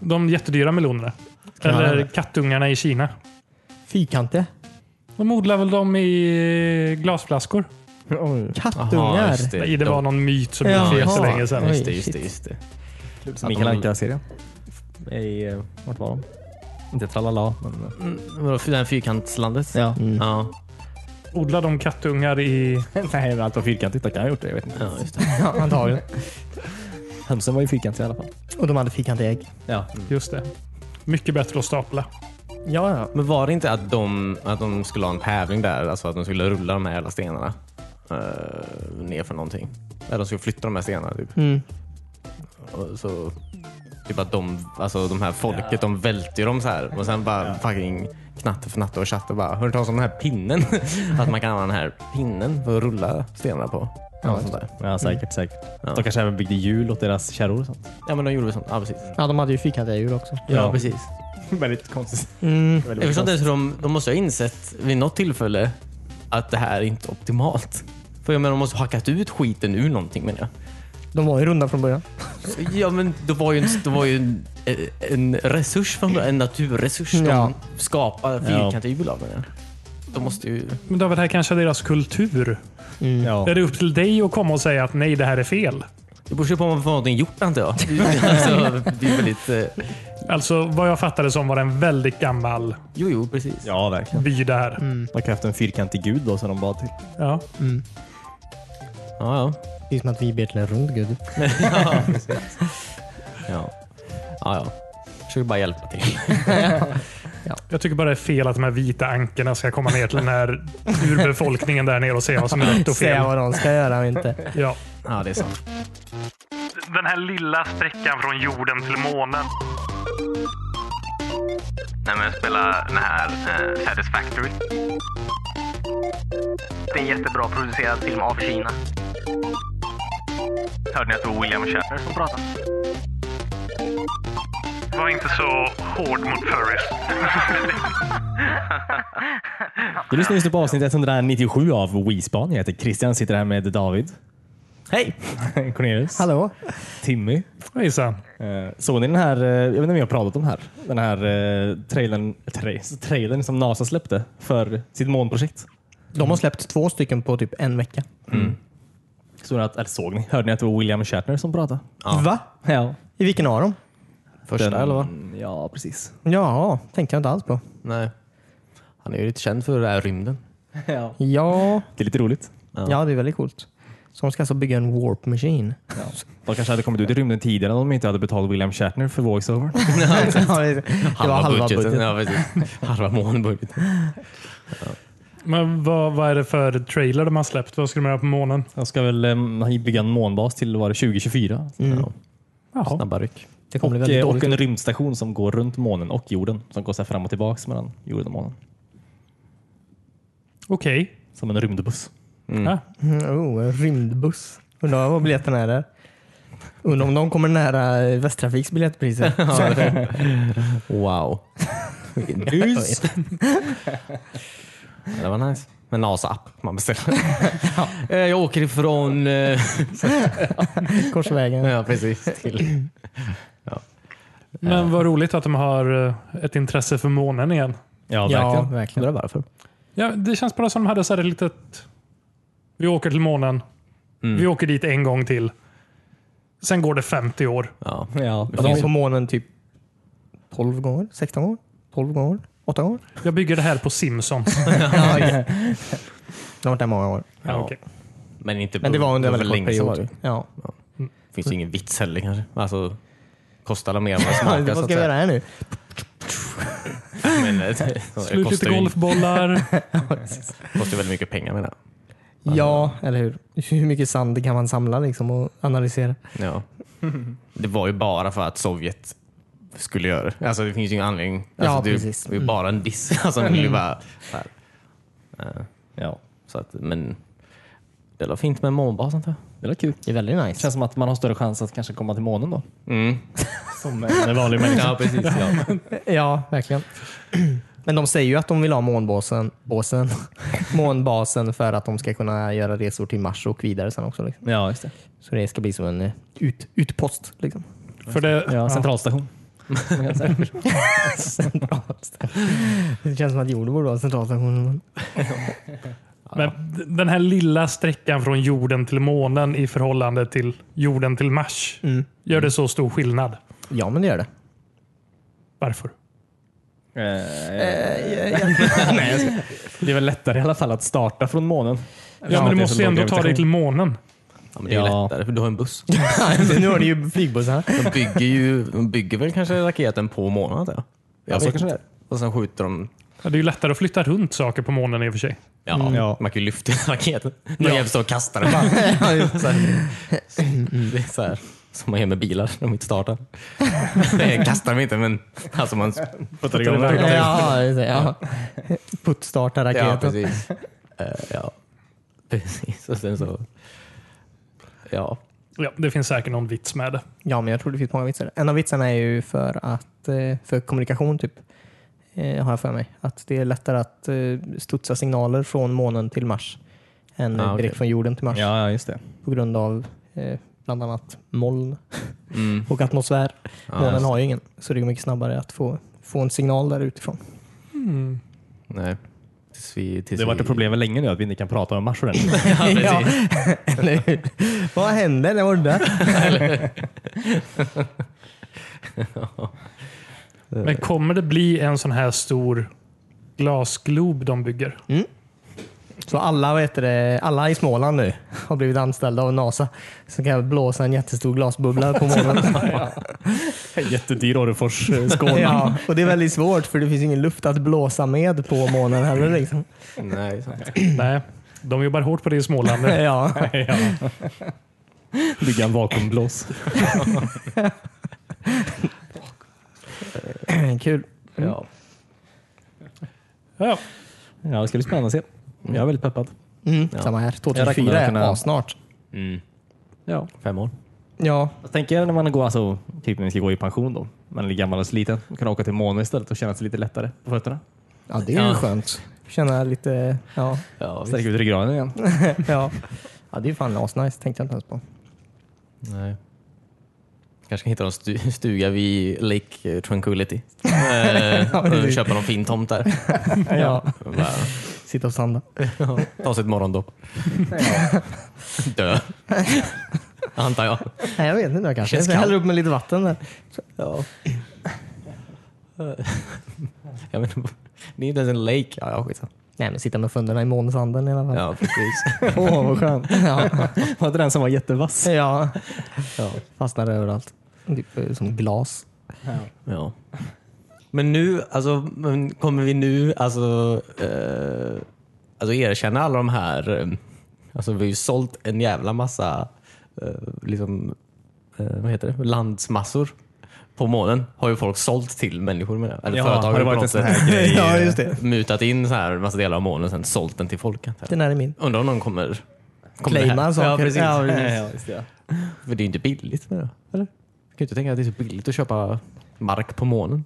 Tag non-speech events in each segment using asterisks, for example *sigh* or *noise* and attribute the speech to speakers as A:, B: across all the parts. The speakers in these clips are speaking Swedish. A: De jättedyra melonerna.
B: Kan jag
A: Eller
B: göra det?
A: kattungarna i Kina.
B: Fikante.
A: De odlar väl dem i eh, glasflaskor?
C: Typ
D: Jaha,
B: Kattungar.
D: just det.
A: Nej, det var någon myt som
B: Jaha.
A: jag för jättelänge sedan.
B: Oj,
D: Just det, just det,
B: shit.
D: just det.
B: Klubb-
D: Att
C: Mikael
D: de-
C: Anka-serien. I, eh, vart var de? Inte Tralala, men... eh,
D: Mm, Vadå, för det här fyrkantslandet?
B: Ja.
D: Ja, Mm.
A: Odlar de kattungar i...
C: *laughs* Nej, men allt var fyrkantigt. De kan ha gjort det. Jag vet inte.
D: ja just det.
B: Ja, antagligen.
C: Hönsen var ju fyrkantiga i alla fall.
B: Och de hade fikanteägg.
C: Ja.
A: Just det. Mycket bättre att stapla.
B: Ja, ja.
D: Men var det inte att de, att de skulle ha en tävling där? Alltså att de skulle rulla de här jävla stenarna uh, ner för någonting? Eller de skulle flytta de här stenarna typ.
B: Mm.
D: Och så, typ att de, alltså de här folket, de välter ju dem så här. Och sen bara fucking knatte för natte och chatte bara, hör du talas om den här pinnen? *laughs* att man kan använda den här pinnen för att rulla stenarna på. Ja, sånt där.
C: Ja, säkert. säkert.
D: Ja.
C: De kanske även byggde hjul åt deras kärror och sånt.
D: ja men de gjorde väl sånt. Ja precis.
B: ja, de hade ju fikanteägg också.
C: Ja.
D: precis.
C: Väldigt konstigt.
B: Mm.
D: Jag förstår inte ens hur de, de måste ha insett vid något tillfälle att det här är inte optimalt. För jag menar, de måste ha hackat ut skiten ur någonting menar jag.
B: De var ju runda från början.
D: Ja men det var ju en, det var ju en, eh, en resurs, från början, en naturresurs. De
B: Ja.
D: skapar fyrkantiga hjul av menar jag. De måste ju...
A: Men David, det här kanske är deras kultur.
C: Ja.
B: Mm.
A: Är det upp till dig att komma och säga att nej, det här är fel?
D: Det beror ju på om man får någonting gjort antar *laughs* jag. alltså, det är väldigt... Eh,
A: Alltså, vad jag fattade som var det en väldigt gammal
D: jo, jo, precis.
C: Ja, verkligen.
A: by där.
B: Mm.
C: De kan ha haft en fyrkantig gud då som de bad till.
A: Ja.
D: Ja, ja.
B: Det är som att vi ber till en rund gud.
D: Ja, precis. ja. ja, ja. Försöker bara hjälpa till.
A: Jag tycker bara det är fel att de här vita ankorna ska komma ner till den här
B: *laughs*
A: urbefolkningen där nere och säga vad som är rätt och
B: Säga
A: fel.
B: vad de ska göra och inte.
A: Ja.
D: Ja, det är sant.
A: Den här lilla sträckan från jorden till månen.
E: Nej men spela den här eh, Satisfactory. Det är en jättebra producerad film av Kina. Hörde ni att det var William Shatner som pratade?
A: Var inte så hård mot furries.
C: Du lyssnar just nu på avsnitt 197 av Wispan. Jag heter Christian sitter här med David. Hej! Cornelius.
B: Hallå?
C: Timmy.
A: Hejsan.
C: Eh, Såg ni den här, eh, jag vet inte om jag har pratat om det här, den här eh, trailern, tra- trailern som NASA släppte för sitt månprojekt?
B: De har släppt två stycken på typ en vecka.
C: Såg ni att, eller såg ni? Hörde ni att det var William Shatner som pratade?
B: Va?
C: Ja.
B: I vilken av dem?
D: Första eller vad?
C: Ja, precis.
B: Ja, tänkte jag inte alls på.
D: Nej. Han är ju lite känd för det här rymden.
C: Ja.
B: Ja,
C: Det är lite roligt.
B: ja. det är väldigt coolt. Så de ska alltså bygga en warp machine.
C: De kanske hade kommit ut i rymden tidigare om de inte hade betalat William Shatner för *laughs* voiceover.
B: Ja, *laughs* det det var halva budgeten.
D: Ja, precis. *laughs* halva månbudgeten.
A: Men vad, vad är det för trailer de har släppt? Vad ska de göra på månen?
C: De ska väl um, bygga en månbas till var det 2024?
D: Ja,
A: Jaha.
D: snabba ryck.
B: Det kommer
C: Mm. Och,
B: bli väldigt
C: eh,
B: dåligt.
C: och en rymdstation som går runt månen och jorden. Som går så här fram och tillbaks mellan jorden och månen.
A: Okej.
C: Som en rymdbuss.
A: Ja.
B: Mm, oh, en rymdbuss. Undrar vad biljetten är där. Undrar om de kommer nära eh, Västtrafiks biljettpriser.
D: *laughs* Wow. Vilken bus. Ja, det var nice. Med NASA-app man beställer. *laughs* Eh, Jag åker ifrån... eh,
B: Korsvägen.
D: Ja, precis. Till.
A: Men vad roligt att de har eh, ett intresse för månen igen.
C: Ja,
B: Ja,
C: verkligen.
B: verkligen.
D: Undrar varför.
A: Ja, det känns bara som de hade så här ett litet... Vi åker till månen.
C: Mm.
A: Vi åker dit en gång till. Sen går det 50 år.
D: *laughs* Ja.
C: Ja,
B: De var på månen typ 12 gånger, 16 gånger, 12 gånger, 8 gånger.
A: Jag bygger det här på Simpsons.
C: *laughs*
B: Ja, ja. De har varit där många år.
A: Ja, okej.
D: Men inte
B: Men det var under en
D: för
B: väldigt kort
D: länge sedan var
B: period. Ja.
D: det. finns ju ingen vits heller kanske. Alltså, kostar alla mer än vad det
B: Ja, *laughs* vad
D: smakar. så att
B: ska vi göra
D: säga.
B: här nu? *laughs*
D: Men, eh, det
A: Slut lite
D: kostar ju-
C: *laughs*
A: golfbollar.
D: kostar ju väldigt mycket pengar menar jag.
B: Ja, eller hur? *laughs* Hur mycket sand kan man samla liksom och analysera?
D: Ja. Det var ju bara för att Sovjet skulle göra det. Alltså det finns ju ingen anledning. Alltså,
B: Ja,
D: det, är ju-
B: precis. Mm.
D: det är ju bara en diss. *laughs* Alltså, de vill ju bara, så här.
C: Ja,
D: Så att, men det var fint med månbas antar jag.
C: det var kul.
B: Det är väldigt nice.
C: Känns som att man har större chans att kanske komma till månen då.
D: Mm.
C: Som en vanlig människa.
D: Ja, precis. Ja.
B: Ja, verkligen. Men de säger ju att de vill ha månbasen, basen, *laughs* månbasen för att de ska kunna göra resor till Mars och vidare sen också. Liksom.
C: *laughs* Ja, just det.
B: Så det ska bli som en eh, ut, utpost. Liksom. *laughs*
A: För det,
C: Ja,
A: ja.
C: centralstation.
B: Centralstation. Det känns som att jorden borde vara Mm. centralstationen.
A: Men d- den här lilla sträckan från jorden till månen i förhållande till jorden till Mars. Gör det så stor skillnad?
B: Ja, men det gör det.
A: Varför?
C: Eh,
B: *laughs*
C: Det är väl lättare i alla fall att starta från månen.
A: Ja, men du måste ju ändå ta dig till månen.
D: Ja, men det är ju
C: Ja.
D: lättare för du har en buss.
B: nu har du ju *laughs* flygbussarna.
D: De bygger, ju, de bygger väl kanske raketen på månaden? antar jag.
C: Ja, så kanske det är.
D: Och sen skjuter de.
A: Ja, det är ju lättare att flytta runt saker på månen i och för sig.
D: Ja,
C: Mm. Ja.
D: Man kan ju lyfta *laughs* raketen. Någon jävel står och kastar den bara.
C: *laughs*
D: så här. Det är så här. Som man gör med bilar när de
C: *laughs*
D: inte startar. Nej, kastar dem inte, men alltså man...
C: Puttar igång den.
B: Ja, just det, ja. Puttstarta
D: Ja,
B: raketen.
D: precis. Eh, ja, precis. Och sen så... Ja.
A: Ja, det finns säkert någon vits med det.
B: Ja, men jag tror det finns många vitsar. En av vitsarna är ju för att eh, för kommunikation typ. Eh, Har jag för mig. Att det är lättare att eh, studsa signaler från månen till Mars än
D: Ah,
B: eh,
D: okej.
B: direkt från jorden till Mars.
C: Ja, ja, just det.
B: På grund av eh, bland annat moln
D: Mm.
B: och atmosfär.
D: Ja,
B: månen
D: Ah, just-
B: har ju ingen. Så det är mycket snabbare att få, få en signal där utifrån.
D: Nej. Tills vi, tills
C: Det har varit
D: vi,
C: ett problem länge nu att vi inte kan prata om Mars ordentligt.
D: *laughs* Ja, precis.
B: *laughs* Ja. Eller hur? Vad hände? Det var det där.
A: Men kommer det bli en sån här stor glasglob de *clears throat* bygger?
B: Så alla, vad heter det, alla i Småland nu har blivit anställda av NASA. Så kan jag blåsa en jättestor glasbubbla på månen.
C: *laughs* Jättedyr Orrefors eh,
B: *laughs*
C: Skåne.
B: ja, och det är väldigt svårt för det finns ingen luft att blåsa med på månen heller. Liksom.
D: Nej, sant.
A: Nej, de jobbar hårt på det i *laughs* Småland. nu.
B: *laughs* Ja.
C: Bygga en vakuumblås.
B: Kul.
C: Mm.
D: Ja.
A: Ja,
C: Ja, det ska bli spännande att se. Jag är väldigt peppad.
B: Mm, Samma här. 2004
C: Jag räknar
B: är
C: med-
B: snart.
D: Mm.
C: Ja.
D: Fem år.
B: Ja,
C: Jag tänker när man går, alltså, typ när man ska gå i pension då. Man är gammal och sliten. Man kan åka till månen istället och känna sig lite lättare på fötterna.
B: ja det är ju
D: Ja.
B: skönt. Känna lite... Ja.
D: Ja, visst.
C: Sträcka ut ryggraden igen.
B: ja. ja, det är fan asnice. Tänkte jag inte ens på.
D: Nej. Kanske kan hitta någon stu- stuga vid Lake Tranquility. Eh, och köpa någon fin tomt där.
B: Ja.
D: Och bara
B: Sitta och sanda.
D: Ta sig ett morgondopp. Dö. *laughs* Antar jag.
B: Nej, jag vet inte. Jag kanske
D: Känns
B: jag
D: kallt.
B: häller upp med lite vatten där.
D: Ja. jag menar, det är inte ens en lake. Ja, ja, skitsamma.
B: Nej, men sitta med fötterna i månsanden i alla fall.
D: Ja, precis.
B: *laughs* Åh, vad skönt. *laughs* Ja.
C: Var det den som var jättevass?
B: ja. Fastnar överallt. Typ eh, som glas.
D: Ja. Men nu, alltså, men kommer vi nu alltså, eh, alltså erkänna alla de här... eh, Alltså vi har ju sålt en jävla massa eh, liksom, eh, vad heter det? landsmassor på månen. Har ju folk sålt till människor med Eller
C: Ja,
D: företag
C: har det
D: på
C: varit en
D: något
C: sån
D: sätt.
C: här grej?
B: *laughs* Ja, just det.
D: Mutat in så här massa delar av månen och sen sålt den till folk. antar jag.
B: Den här är min.
D: Undrar om någon kommer... kommer det här?
B: Claima saker.
D: Ja, precis.
B: Ja,
C: *laughs* Ja, just det.
D: För det är ju inte billigt. Med det, eller? Jag kan ju inte tänka att det är så billigt att köpa mark på månen.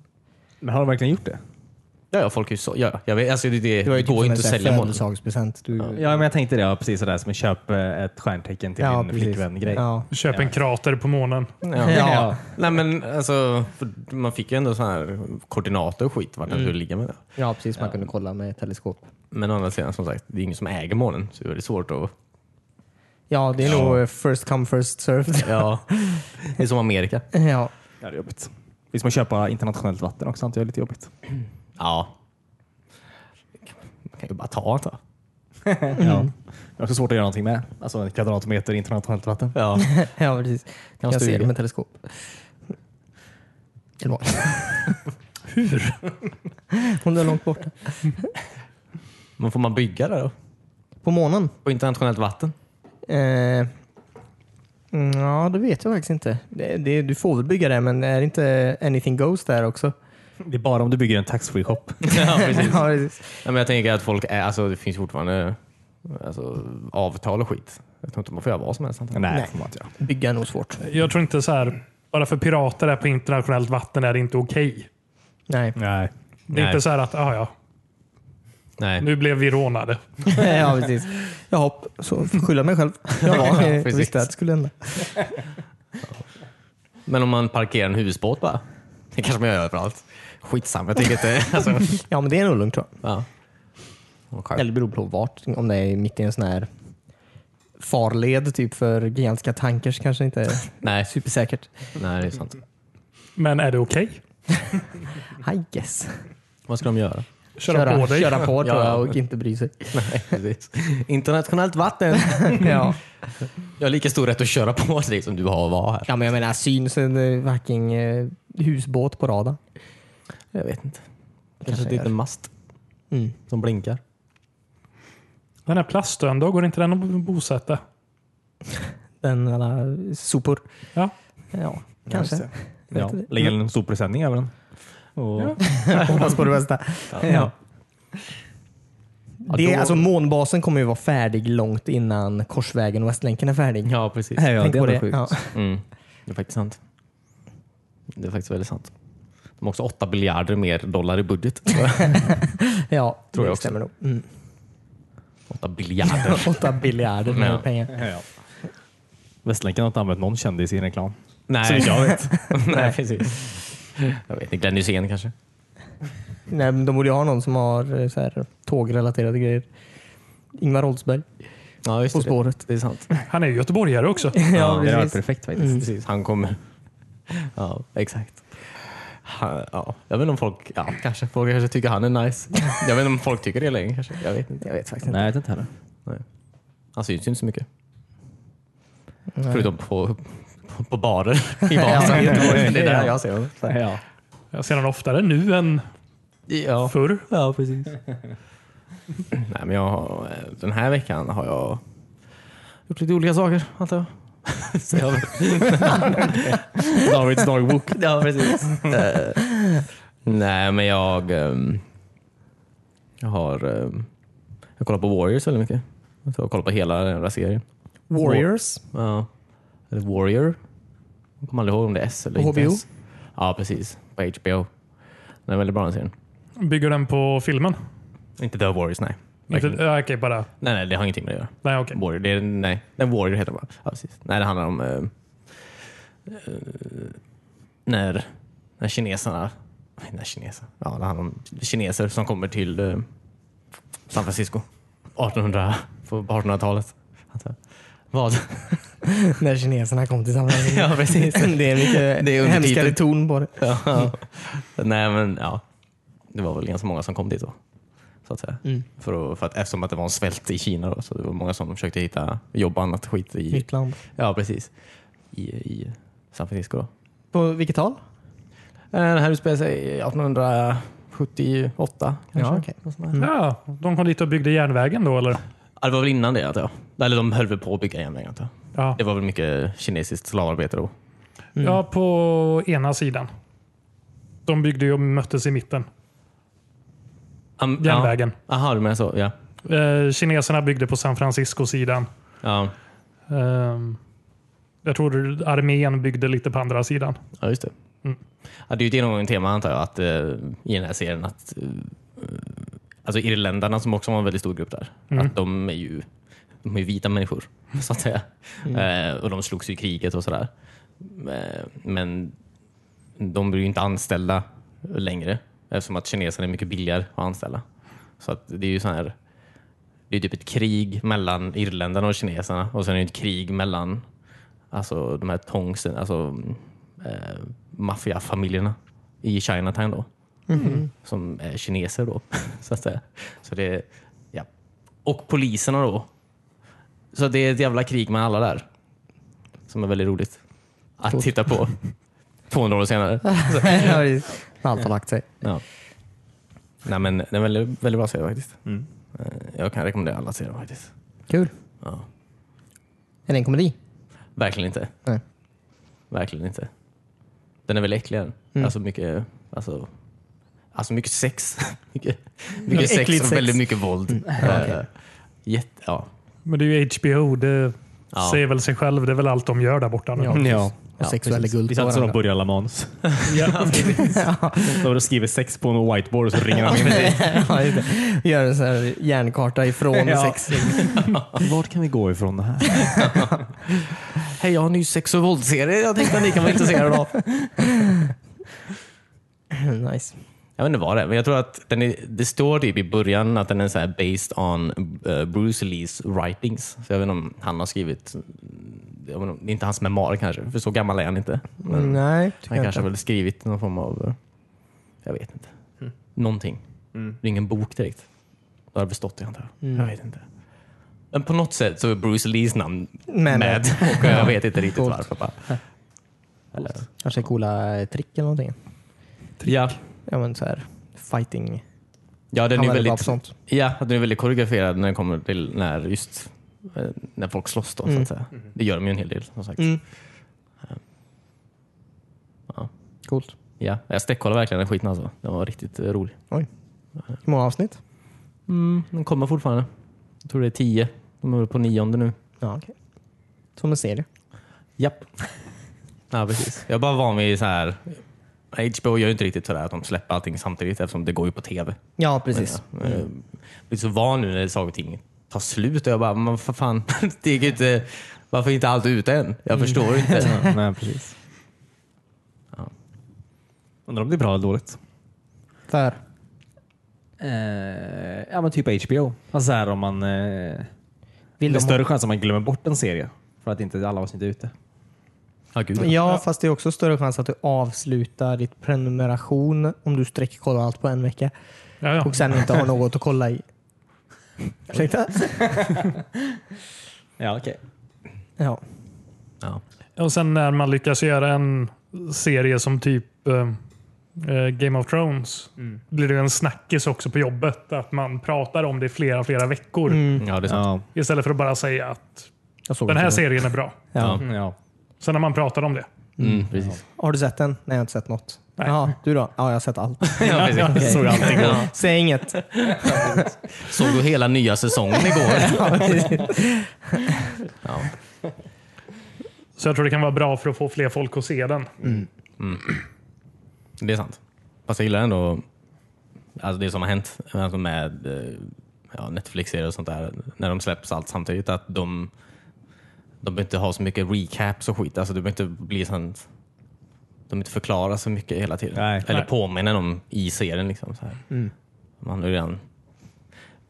C: Men har de verkligen gjort det?
D: Ja, ja folk är ju så. Ja, jag vet, alltså det, det
B: Du har ju typ
D: går ju inte att sälja månen.
B: födelsedagspresent. Du...
C: Ja, men jag tänkte det. Ja, precis sådär som att köpa ett stjärntecken till din flickvän-grej.
B: Ja.
A: köp en krater på månen.
D: Ja.
B: Ja.
D: Nej, men alltså, för man fick ju ändå sån här koordinater och skit vart den skulle ligga med det.
B: ja, precis. Man kunde kolla med teleskop.
D: Men å andra sidan, som sagt, det är ju ingen som äger månen. Så det är svårt att...
B: Ja, det är nog eh, first come first served.
D: *laughs* Ja, det är som Amerika.
B: ja.
C: Ja, det är jobbigt. Vi ska köpa internationellt vatten också, antar jag. är lite jobbigt.
D: Ja. Man kan ju bara ta det.
C: *laughs* Ja. Det är också svårt att göra någonting med. Alltså en kvadratmeter internationellt vatten.
D: Ja.
B: ja, precis.
D: Kan
B: Kan jag se
D: stuga.
B: det med teleskop. Eller vad?
A: Hur?
B: *laughs* Hon är långt borta.
D: Men får man bygga där då?
B: På månen?
D: På internationellt vatten?
B: Eh, mm, ja, det vet jag faktiskt inte. Det, det, du får väl bygga det, men är inte anything goes där också?
C: Det är bara om du bygger en taxfree shop.
D: *laughs* Ja, *laughs* precis.
B: *laughs* Ja, precis.
D: Nej, men jag tänker att folk är, alltså, det finns fortfarande alltså, avtal och skit. Jag tror inte man får göra vad som helst. antagligen.
C: Nej, får man inte göra.
B: Bygga är nog svårt.
A: Jag tror inte så här, bara för pirater är på internationellt vatten är det inte okej.
B: *laughs* Nej.
C: Nej.
A: Det är inte så här att, ah, ja,
D: Nej.
A: nu blev vi rånade.
B: ja, precis. Jag hopp, så får skylla mig själv.
D: Ja,
B: Ja, jag *laughs*
D: precis.
B: visste att det skulle hända.
D: Men om man parkerar en husbåt bara? Det kanske man gör överallt. Skitsamma, jag tänker inte... *laughs* Alltså,
B: Ja, men det är nog lugnt tror jag.
D: ja. Okay.
B: Eller det beror på vart. Om det är mitt i en sån här farled typ för gigantiska tankers kanske inte *laughs* är
D: Nej,
B: supersäkert.
D: nej, det är sant.
A: Men är det okej?
B: Hi, yes.
D: Vad ska de göra?
A: Köra, på dig?
B: Köra på tror
D: Ja.
B: jag och inte bry sig.
D: Nej, precis. Internationellt vatten.
B: *laughs* ja.
D: Jag har lika stor rätt att köra på dig som du har att vara här.
B: ja, men jag menar syns en eh, fucking eh, husbåt på radarn?
D: Jag vet inte.
B: Kanske
D: Kanske det är en mast
B: Mm.
D: som blinkar.
A: Den här plastön då? Går inte den att bosätta?
B: Den alla sopor.
A: Ja.
B: Ja, kanske.
C: just Ja, lägga en soppresenning över den. Och,
A: Ja.
B: Hoppas på det
D: *laughs*
B: bästa. Ja. Det,
D: då-
B: alltså, månbasen kommer ju vara färdig långt innan Korsvägen och Västlänken är färdig.
D: Ja, precis.
C: Nej, ja,
B: Tänk
C: det
B: på
C: är
B: det.
C: sjukt.
B: Ja.
D: Mm. Det är faktiskt sant. Det är faktiskt väldigt sant. De har också 8 biljarder mer dollar i *laughs* budget.
B: Ja,
D: Tror
B: det
D: jag också.
B: stämmer nog. Mm. *laughs*
D: 8 biljarder.
B: Åtta biljarder med
D: Ja.
B: pengar.
C: *laughs* Ja. Västlänken har inte använt någon kändis i en reklam.
D: Nej, jag vet. *laughs* Nej, precis. Jag vet inte. Glenn Hysén kanske?
B: Nej, men de borde ju ha någon som har eh, så här, tågrelaterade grejer. Ingvar Oldsberg. *laughs*
D: Ja, just
B: På
D: det.
B: spåret.
D: Det är sant.
A: Han är ju göteborgare *laughs* också.
B: Ja,
C: Det hade varit
B: precis.
C: perfekt faktiskt.
B: Mm.
D: Precis, han kommer. Ja, exakt. Han, ja, jag vet inte om folk, ja, kanske, folk kanske tycker han är nice. Jag vet inte om folk tycker det längre. Kanske. Jag vet inte.
B: Jag vet faktiskt inte.
C: Nej, jag vet inte heller.
D: Han syns ju inte så mycket.
B: Nej.
D: Förutom på, på, på barer i Vasa. i Göteborg. det är där *laughs* jag ser honom. Så här.
C: Ja.
A: Jag ser honom oftare nu än
D: Ja.
A: förr.
D: Ja, precis. Nej, men jag har, den här veckan har jag gjort lite olika saker, antar *laughs* jag. Så jag *laughs* Davids dagbok. Ja, precis. Eh, Nej, men jag, ehm, jag har ehm, jag kollar på Warriors väldigt mycket. Jag tror jag kollar på hela den här serien.
B: Warriors.
D: Ja. Eller Warrior. Jag kommer aldrig ihåg om det är S eller
B: På
D: inte
B: HBO?
D: S. Ja, precis. På HBO. Den är väldigt bra den serien.
A: Bygger den på filmen?
D: Inte The Warriors, nej.
A: Inte,
D: Verkligen.
A: äh, okej, bara.
D: Nej, nej, det har ingenting med det att göra.
A: Nej, okej.
D: Warrior, det är, nej, den Warrior heter den bara. Ja, precis. Nej, det handlar om eh, eh, när, när kineserna, nej, när kineser, ja, det handlar om kineser som kommer till eh, San Francisco 1800, på 1800-talet. antar jag. Vad?
B: När kineserna kom till San Francisco.
D: *laughs* ja,
B: *laughs*
D: precis.
B: Det är mycket
D: Det är under
B: hemskare
D: titeln.
B: ton på det.
D: Ja. *laughs* Nej, men ja. Det var väl ganska många som kom dit då. Så att säga.
B: Mm.
D: För, att- för att, eftersom att det var en svält i Kina då, så det var många som försökte hitta jobb och annat skit i,
B: Nytt land.
D: Ja, precis. I, i San Francisco då.
B: På vilket tal?
D: Den Eh, här utspelar sig 1878 kanske.
B: Ja, okej.
D: Något sånt där.
A: Ja, de kom dit och byggde järnvägen då eller?
D: Ja, det var väl innan det antar jag. Eller de höll väl på att bygga järnvägen antar jag.
A: Ja.
D: Det var väl mycket kinesiskt slavarbete då. Mm.
A: ja, på ena sidan. De byggde ju och möttes i mitten.
D: Am-
A: Järnvägen.
D: Ja. Aha, du menar så. Ja.
A: Eh, kineserna byggde på San Francisco-sidan.
D: Ja.
A: Ehm, jag tror armén byggde lite på andra sidan.
D: ja, just det.
A: Mm.
D: Ja, det är ju ett genomgående tema antar jag att, eh, i den här serien att eh, alltså irländarna som också var en väldigt stor grupp där,
A: Mm.
D: att de är ju de är ju vita människor *laughs* så att säga.
A: Mm.
D: Eh, och de slogs ju i kriget och sådär. Eh, men de blir ju inte anställda längre eftersom att kineserna är mycket billigare att anställa. Så att det är ju så här det är typ ett krig mellan irländarna och kineserna och sen är det ett krig mellan alltså, de här tongsen, alltså eh, maffiafamiljerna i Chinatown då. Som är kineser då, *laughs* så att säga. Så det, ja. Och poliserna då. Så det är ett jävla krig med alla där. Som är väldigt roligt att titta på 200 år senare.
B: *laughs* Allt har lagt sig.
D: Ja. Nej, men det är en väldigt, väldigt bra serie faktiskt. Eh, Jag kan rekommendera alla serier faktiskt.
B: Kul.
D: Ja.
B: Är det en komedi?
D: Verkligen inte.
B: Nej.
D: Verkligen inte. Den är väl äckligare. Alltså mycket, alltså, alltså mycket sex. *laughs* mycket mycket sex och
B: äckligt sex. Mm.
D: väldigt mycket våld. Eh, jätte, ja.
A: Men det är ju HBO. Det
D: Ja.
A: säger väl sig själv. Det är väl allt de gör där borta nu.
B: precis.
C: Ja.
B: Och sexuella
D: precis.
B: guld
C: Det
B: på
C: är sant som de
B: varandra.
C: börjar alla manus.
A: Ja.
C: *laughs* Då har du skrivit sex på en whiteboard och så ringer han in.
B: *laughs* Ja, just det. Gör en sån här järnkarta
D: *laughs*
B: ifrån
C: Ja.
B: sex.
C: *laughs* Vart kan vi gå ifrån det här?
D: Hej, jag har en ny sex och våldserie jag tänkte att ni kan vara intresserade av.
B: *laughs* nice.
D: Jag vet inte vad det är, men jag tror att den är, det står typ i början att den är så här based on eh, Bruce Lees writings. Så jag vet inte om han har skrivit, jag vet inte om- det är inte hans memoarer kanske, för så gammal är han inte. Men
B: Nej, tycker
D: han
B: jag
D: kanske
B: inte.
D: har väl skrivit någon form av, eh, jag vet inte,
B: Mm.
D: någonting. Det är ingen bok direkt. Då hade det bestått det antar
B: Mm.
D: jag. Jag vet inte. Men på något sätt så är Bruce Lees namn
B: Men-
D: med,
B: *laughs*
D: och jag vet inte riktigt
B: Coolt.
D: varför.
B: *laughs*
D: Bara. Eh,
B: Kanske coola eh, trick eller någonting.
D: Ja,
B: Ja, men så här fighting.
D: ja den
B: Han
D: är
B: är bra
D: väldigt
B: på sånt.
D: Ja, att den är väldigt koreograferad när det kommer till när, just, eh, när folk slåss. Då, så att säga. Det gör de ju en hel del. Som sagt.
B: Mm.
D: Ja.
B: Coolt.
D: Ja, jag stäckkollar verkligen den skiten alltså. Den var riktigt eh, rolig.
B: Hur många avsnitt?
D: Mm, den kommer fortfarande. Jag tror det är tio. De är väl på nionde nu.
B: Ja, okej. Som en serie.
D: Japp. ja, precis. Jag är bara van vid så här. HBO gör ju inte riktigt sådär att de släpper allting samtidigt eftersom det går ju på tv.
B: Ja, precis.
D: Men, ja, eh, Jag blir så van nu när saker och ting tar slut och jag bara, men för fan, *laughs* det gick ju inte, varför är inte allt ute än? Jag förstår inte.
C: Nej, precis.
D: Ja.
C: Undrar om det är bra eller dåligt?
B: För.
C: ja, men typ HBO. Alltså så här om man... eh,
B: Vill
C: det
B: de-
C: är större chans att man glömmer bort en serie för att inte alla avsnitt är ute.
D: Ja, gud.
B: Ja, fast det är också större chans att du avslutar ditt prenumeration om du sträckkollar allt på en vecka
A: Ja, ja.
B: och sen inte har något att kolla i. Ursäkta?
C: Ja, okej.
B: Ja.
D: Ja.
A: Och sen när man lyckas göra en serie som typ eh, eh, Game of Thrones blir det en snackis också på jobbet. Att man pratar om det i flera, flera veckor
B: Mm.
D: ja, det är sant.
C: Ja.
A: istället för att bara säga att
B: Jag såg
A: den här
B: inte det.
A: serien är bra.
B: Ja.
C: Mm, ja.
A: Sen när man pratar om det.
D: Mm, precis.
B: Har du sett den? Nej, jag har inte sett något. Jaha, du då? Ja, jag har sett allt.
D: *laughs* Ja, precis. Såg allting. Ja.
B: Säg inget.
D: Såg du hela nya säsongen igår?
B: Ja, precis.
D: Ja.
A: Så jag tror det kan vara bra för att få fler folk att se den.
D: Det är sant. Fast jag gillar ändå alltså det som har hänt alltså med eh, ja, Netflix-serier och sånt där. När de släpps allt samtidigt. Att de, de behöver inte ha så mycket recaps och skit. Alltså det behöver inte bli sånt. De behöver inte förklara så mycket hela tiden.
C: Nej.
D: Eller
A: Nej.
D: påminna om i serien. Liksom, så här. Man har ju redan,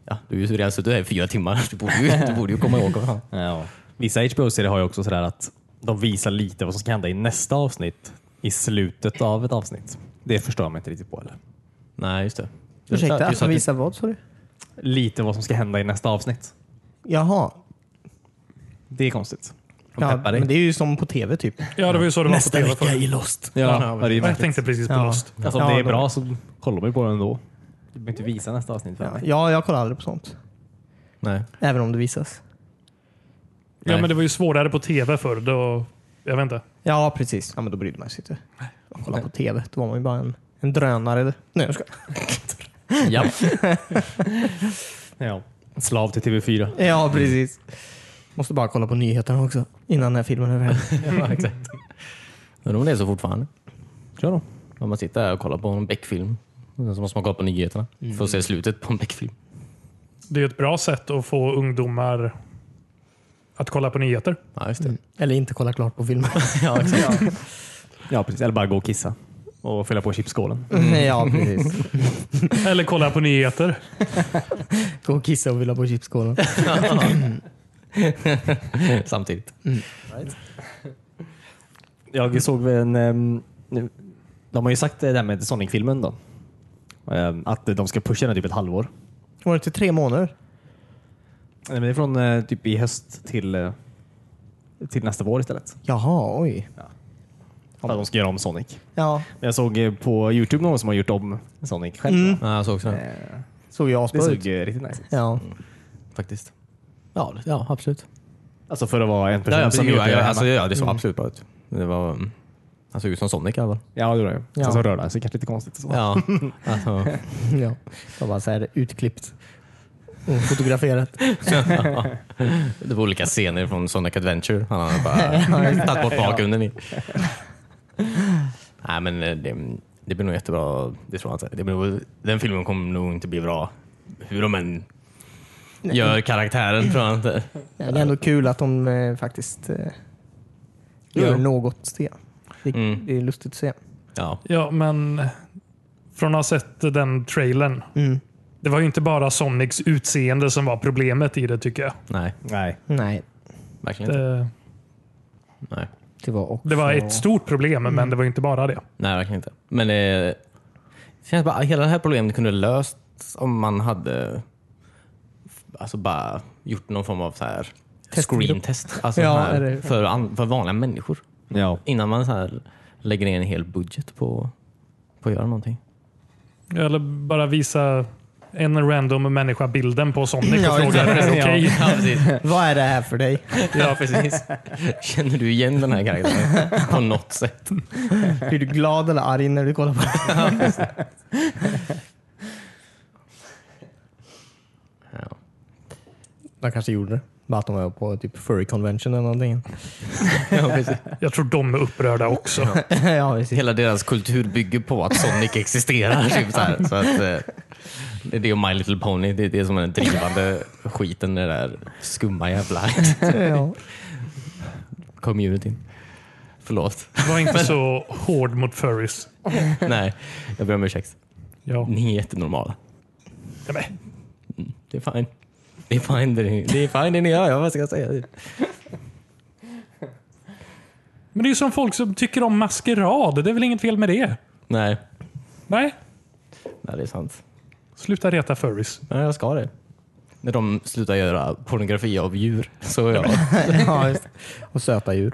D: ja, du har ju redan suttit här i fyra timmar. Du borde ju, du borde ju komma ihåg. vad-
C: Ja. Vissa HBO-serier har ju också sådär att de visar lite vad som ska hända i nästa avsnitt i slutet av ett avsnitt. Det förstår jag mig inte riktigt på. Eller?
D: Nej, just det.
B: Ursäkta,
D: Just
B: alltså,
D: att det-
B: visa vad sa du?
C: Lite vad som ska hända i nästa avsnitt.
B: Jaha.
C: Det är konstigt.
B: Ja,
D: peppar dig.
B: men det är ju som på tv typ.
A: Ja, det var ju så det var på tv förut.
B: i Lost.
C: Ja, det är ju
A: Jag
C: märkligt.
A: tänkte precis på
B: Ja.
A: Lost.
C: Alltså, om
B: Ja,
C: det är
B: då-
C: bra så kollar man ju på den ändå. Du behöver inte visa nästa avsnitt för mig.
B: Ja, jag kollar aldrig på sånt.
D: Nej.
B: Även om det visas.
A: Ja,
D: Nej.
A: men det var ju svårare på tv förr. Då, jag vet inte.
B: Ja, precis. Ja, men då brydde man sig inte. Att kolla på tv, då var man ju bara en, en drönare. Nej, jag ska.
D: Ja.
C: Ja. Slav till TV4.
B: Ja, precis. Måste bara kolla på nyheterna också innan den här filmen är över.
D: *laughs* ja, exakt. Undrar om det är så fortfarande.
C: Kör då.
D: Om man sitter här och kollar på en Beck-film. Och Så måste man kolla på nyheterna för att se slutet på en Beck-film.
A: Det är ju ett bra sätt att få ungdomar att kolla på nyheter.
D: Ja, just det.
B: Eller inte kolla klart på filmen.
D: *laughs* Ja, exakt.
C: Ja, precis. Eller bara gå och kissa och fylla på *laughs* chipsskålen.
B: Ja, precis.
A: Eller kolla på nyheter.
B: Gå och kissa och vila på chipskålen.
D: Samtidigt.
C: Mm. Jag såg väl en... ehm, nu- De har ju sagt det där med Sonic-filmen då. Ehm, Att de ska pusha den typ ett halvår.
B: Var det inte tre månader?
C: Nej, men det är från eh, typ i höst till, eh, till nästa vår istället.
B: Jaha, oj.
C: För att de ska göra om Sonic.
B: Ja,
C: Men Jag såg eh, på Youtube någon som har gjort om Sonic själv.
B: Mm.
D: Ja, jag såg också det.
B: såg ju
C: Det
B: asbra ut.
C: såg eh, riktigt nice ut.
B: Ja.
D: Faktiskt. Ja, det- ja absolut.
C: Alltså för att vara en person
D: Ja, ja,
C: som
D: jo,
C: gjort
D: ja,
C: det.
D: ja,
C: hemma.
D: alltså, ja, det såg absolut bra ut. Det var, mm, han såg ut som Sonic i alla fall.
C: ja, det gjorde jag.
B: Ja.
C: Sen så rörde han sig kanske lite konstigt. och Så.
D: Ja, *laughs* alltså,
B: ja. Det var bara så här utklippt och fotograferat.
D: det var olika scener från Sonic Adventure. Han hade *laughs* bara tagit bort bakgrunden i. Nej, men eh, det, det blir nog jättebra. Det tror jag inte. Det blir, nog- den filmen kommer nog inte bli bra. Hur de än gör karaktären tror jag inte.
B: Ja, det är ändå kul att de eh, faktiskt eh,
D: Jo,
B: gör
D: jo.
B: något till det. Det,
D: Mm.
B: det är lustigt att se.
D: Ja,
A: Ja, men Från att ha sett den trailern.
B: Mm.
A: Det var ju inte bara Sonics utseende som var problemet i det tycker jag.
D: Nej,
C: Nej.
B: Nej,
D: verkligen inte.
A: Det,
D: Nej.
B: det var också...
A: det var ett stort problem, men det var ju inte bara det.
D: Nej, verkligen inte. Men det känns bara, hela det här problemet kunde löst om man hade alltså bara gjort någon form av så här
B: Testgrupp.
D: screentest alltså
B: Ja,
D: sån här,
B: eller-
D: för, an, för vanliga människor.
C: Ja.
D: Innan man så här lägger ner en hel budget på, på att göra någonting.
A: Eller bara visa en random människa bilden på Sonic
B: Ja,
A: och fråga är det
B: ja.
A: okej?
D: Ja, precis.
B: Vad är det här för dig?
D: ja, precis. *laughs* Känner du igen den här karaktären *laughs* på något sätt?
B: Blir du glad eller arg när du kollar på det?
D: Ja.
B: De kanske gjorde det. Bara att de var på typ furry convention eller någonting.
A: Jag tror de är upprörda också.
B: *laughs* ja, visst.
D: Hela deras kultur bygger på att Sonic existerar. Typ så här. Så att, eh, det är det och My Little Pony, det är det som är den drivande skiten i det där skumma jävla
B: *laughs* ja.
D: communityn. Förlåt.
A: Var inte så hård mot furries.
D: Nej, jag ber om ursäkt.
A: Ja.
D: Ni är jättenormala.
A: Ja, men,
D: Det är fine. Det är fine det ni, det är fine det ni gör, ja, vad ska jag säga?
A: Men det är ju som folk som tycker om maskerad. Det är väl inget fel med det?
D: Nej,
A: Nej,
D: nej det är sant.
A: sluta reta furries.
D: Nej, jag ska det. När de slutar göra pornografi av djur så är jag...
B: *laughs* ja, just. Och söta djur.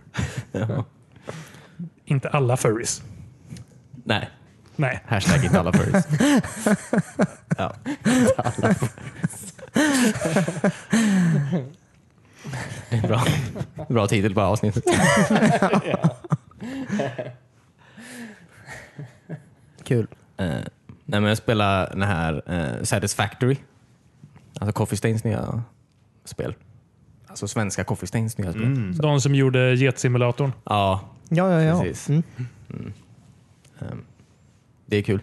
D: Ja.
A: Inte alla furries.
D: Nej,
A: Nej.
D: hashtag inte alla *laughs* furries. Ja. Det är bra. bra titel på avsnittet.
B: Kul.
D: Eh, nej, men jag spelar den här eh, Satisfactory. Alltså Coffee Stains nya spel. Alltså svenska Coffee Stains nya spel.
A: De som gjorde getsimulatorn.
D: Ja,
B: Ja, ja, ja.
D: Precis.
B: Mm.
D: det är kul.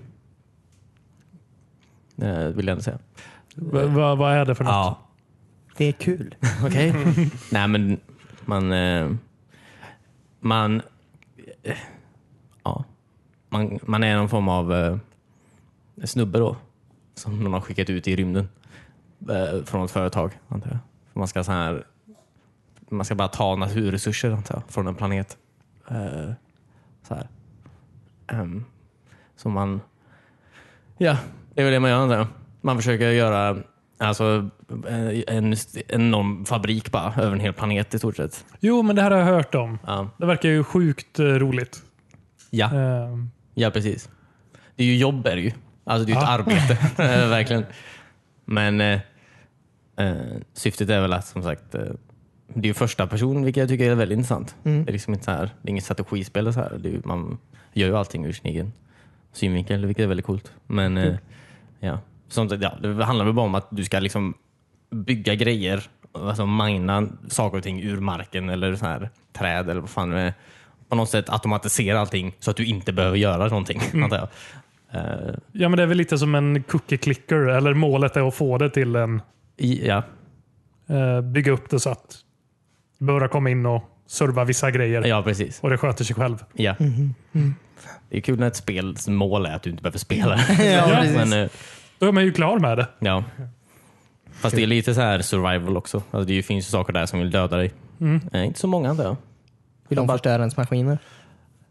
D: Eh, vill jag ändå säga.
A: V- vad- vad är det för något?
D: Ja,
B: Det är kul.
D: Okej. *laughs* Nej, men man... eh, Man... eh, Ja. Man, man är någon form av eh, snubbe då. Som någon har skickat ut i rymden. eh, Från ett företag, antar jag. För Man ska så här... Man ska bara ta naturresurser, antar jag, från en planet. Eh, Så här. Ehm, Så man... Ja, det är väl det man gör, antar jag. Man försöker göra Alltså eh, en st- enorm fabrik bara, över en hel planet i stort sett.
A: Jo, men det här har jag hört om.
D: Ja,
A: Det verkar ju sjukt eh, roligt.
D: ja.
A: Eh,
D: ja precis. Det är ju jobb är det ju. Alltså det är ju ett arbete, eh, verkligen. Men eh, eh, syftet är väl att som sagt, eh, det är ju första person vilket jag tycker är väldigt intressant.
B: Mm.
D: Det är liksom inte så här, det är inget strategispel eller så här. Det är, ju- man gör ju allting ur sin egen synvinkel, vilket är väldigt coolt. Men
B: Mm.
D: eh, ja, sånt, ja, det handlar väl bara om att du ska liksom bygga grejer, alltså mina saker och ting ur marken eller så här, träd eller vad fan det är. På något sätt automatisera allting så att du inte behöver göra någonting,
B: Mm.
D: antar jag. Eh,
A: ja, men det är väl lite som en cookie clicker. Eller målet är att få det till en...
D: i, ja,
A: eh, bygga upp det så att du behöver komma in och serva vissa grejer.
D: ja, precis.
A: Och det sköter sig själv.
D: Ja.
B: Mm-hmm. Mm.
D: Det är kul när ett spels mål är att du inte behöver spela.
B: *laughs* Ja,
D: Men,
B: precis.
D: eh,
A: Då är man ju klar med det.
D: ja. Fast det är lite så här survival också. Alltså det finns ju saker där som vill döda dig.
A: Mm.
D: Eh, inte så många antar jag.
B: Vill de förstöra ens maskiner?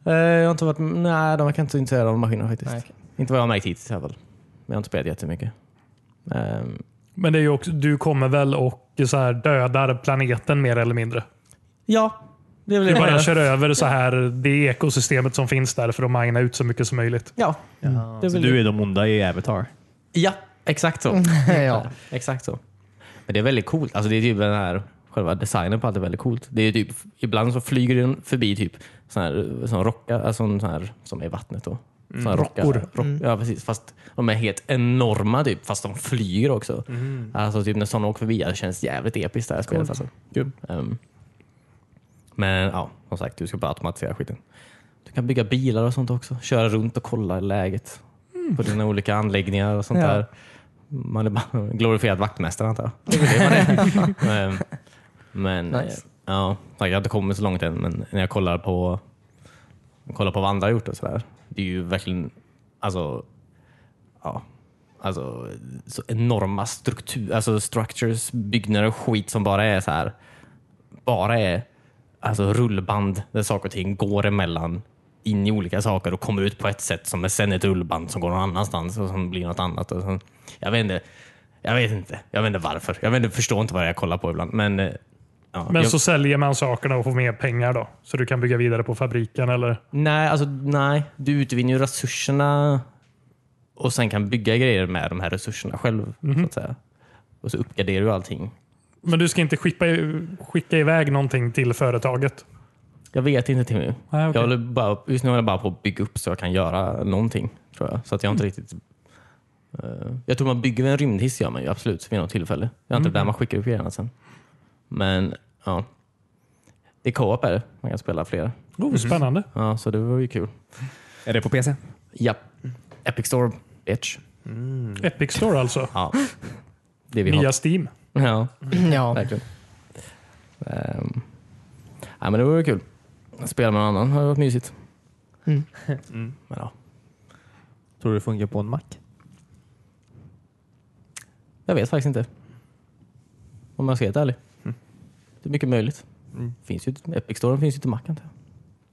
D: Eh, Jag har inte varit... Nej, de kan inte intresserade av maskiner faktiskt.
B: Nej, okej.
D: Inte vad jag har märkt hittills i alla fall. Men jag har inte spelat jättemycket. Ehm,
A: Men det är ju också, du kommer väl och så här dödar planeten mer eller mindre.
D: ja, det är väl
A: Du
D: det
A: bara
D: jag
A: kör över så här det ekosystemet som finns där för att mina ut så mycket som möjligt.
D: Ja, det är
C: Så
D: väl
C: du
D: det.
C: är de onda i Avatar?
D: ja, exakt så.
B: Mm. *laughs* ja.
D: Exakt så. Men det är väldigt coolt. Alltså det är typ den här själva designen på allt är väldigt coolt. Det är typ, ibland så flyger den förbi typ sån här, sån rockar, alltså en sån här som är i vattnet då. Sån här rockar.
A: rockor.
D: Rock, Ja precis, fast de är helt enorma typ, fast de flyger också. Alltså typ när sådana åker förbi, ja, det känns jävligt episkt det här spelet alltså. Ehm, men ja, som sagt, du ska bara automatisera skiten. Du kan bygga bilar och sånt också. Köra runt och kolla läget på dina olika anläggningar och sånt
B: Ja.
D: där. Man är bara *laughs* glorifierad vaktmästare antar jag. Det är väl det man är. *laughs* Ehm, men
B: Nice.
D: eh, ja, jag har inte kommit så långt än, men när jag kollar på, kollar på vad andra har gjort och sådär. Det är ju verkligen, alltså ja, alltså, så enorma struktur, alltså structures, byggnader och skit som bara är så här. Bara är alltså rullband där saker och ting går emellan in i olika saker och kommer ut på ett sätt som är sen ett rullband som går någon annanstans och som blir något annat. Och sen, jag, vet inte, jag vet inte. Jag vet inte varför. Jag vet inte, förstår inte vad jag kollar på ibland. Men, eh, ja,
A: Men
D: jag,
A: så säljer man sakerna och får mer pengar då? Så du kan bygga vidare på fabriken eller?
D: Nej, alltså nej. Du utvinner ju resurserna och sen kan bygga grejer med de här resurserna själv.
A: Mhm.
D: Så att säga. Och så uppgraderar du allting.
A: Men du ska inte skicka, skicka iväg någonting till företaget?
D: Jag vet inte Timmy.
A: Nej, okej.
D: Jag håller bara, just nu håller jag bara på att bygga upp så jag kan göra någonting. Tror jag. Så att jag inte
A: Mm.
D: riktigt... eh, jag tror man bygger en rymdhiss gör man ju absolut vid något tillfälle. Det är
A: Mm.
D: inte där man skickar upp grejerna sen. Men ja. Det är co-op är det. Man kan spela flera.
A: Oh, spännande.
D: Ja, så det var ju kul.
C: Är det på PC?
D: Japp. Epic Store, bitch.
A: Epic Store alltså.
D: Ja. Det vi har.
A: Nya Steam.
D: Ja,
B: Ja.
D: verkligen. Ehm, nej, men det var ju kul. Att spela med någon annan har varit mysigt.
B: Mm.
D: Men, ja.
C: Tror du det funkar på en Mac?
D: Jag vet faktiskt inte. Om jag ska vara helt ärlig. Det är mycket möjligt. Finns ju, Epic Store finns ju till Mac antar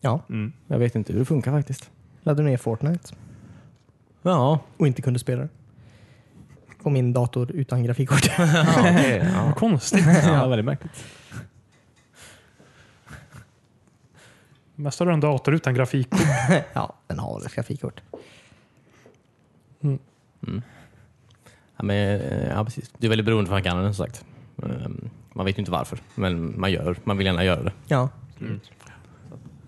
D: jag.
B: ja.
C: Mm.
A: *laughs*
D: Jag vet inte hur det funkar faktiskt.
B: Laddade ner Fortnite
D: Ja,
B: och inte kunde spela det. På min dator utan *laughs* grafikkort.
D: ja, okej,
C: *laughs*
D: ja.
A: Vad konstigt.
C: Ja, väldigt märkligt.
A: Mest har du en dator utan grafik.
B: ja, den har väl ett grafikkort.
D: Mm. Ja, men, eh, ja, precis. Det är väldigt beroende på vad man kan den som sagt. Ehm, Man vet ju inte varför, men man, gör, man vill gärna göra det.
B: Ja.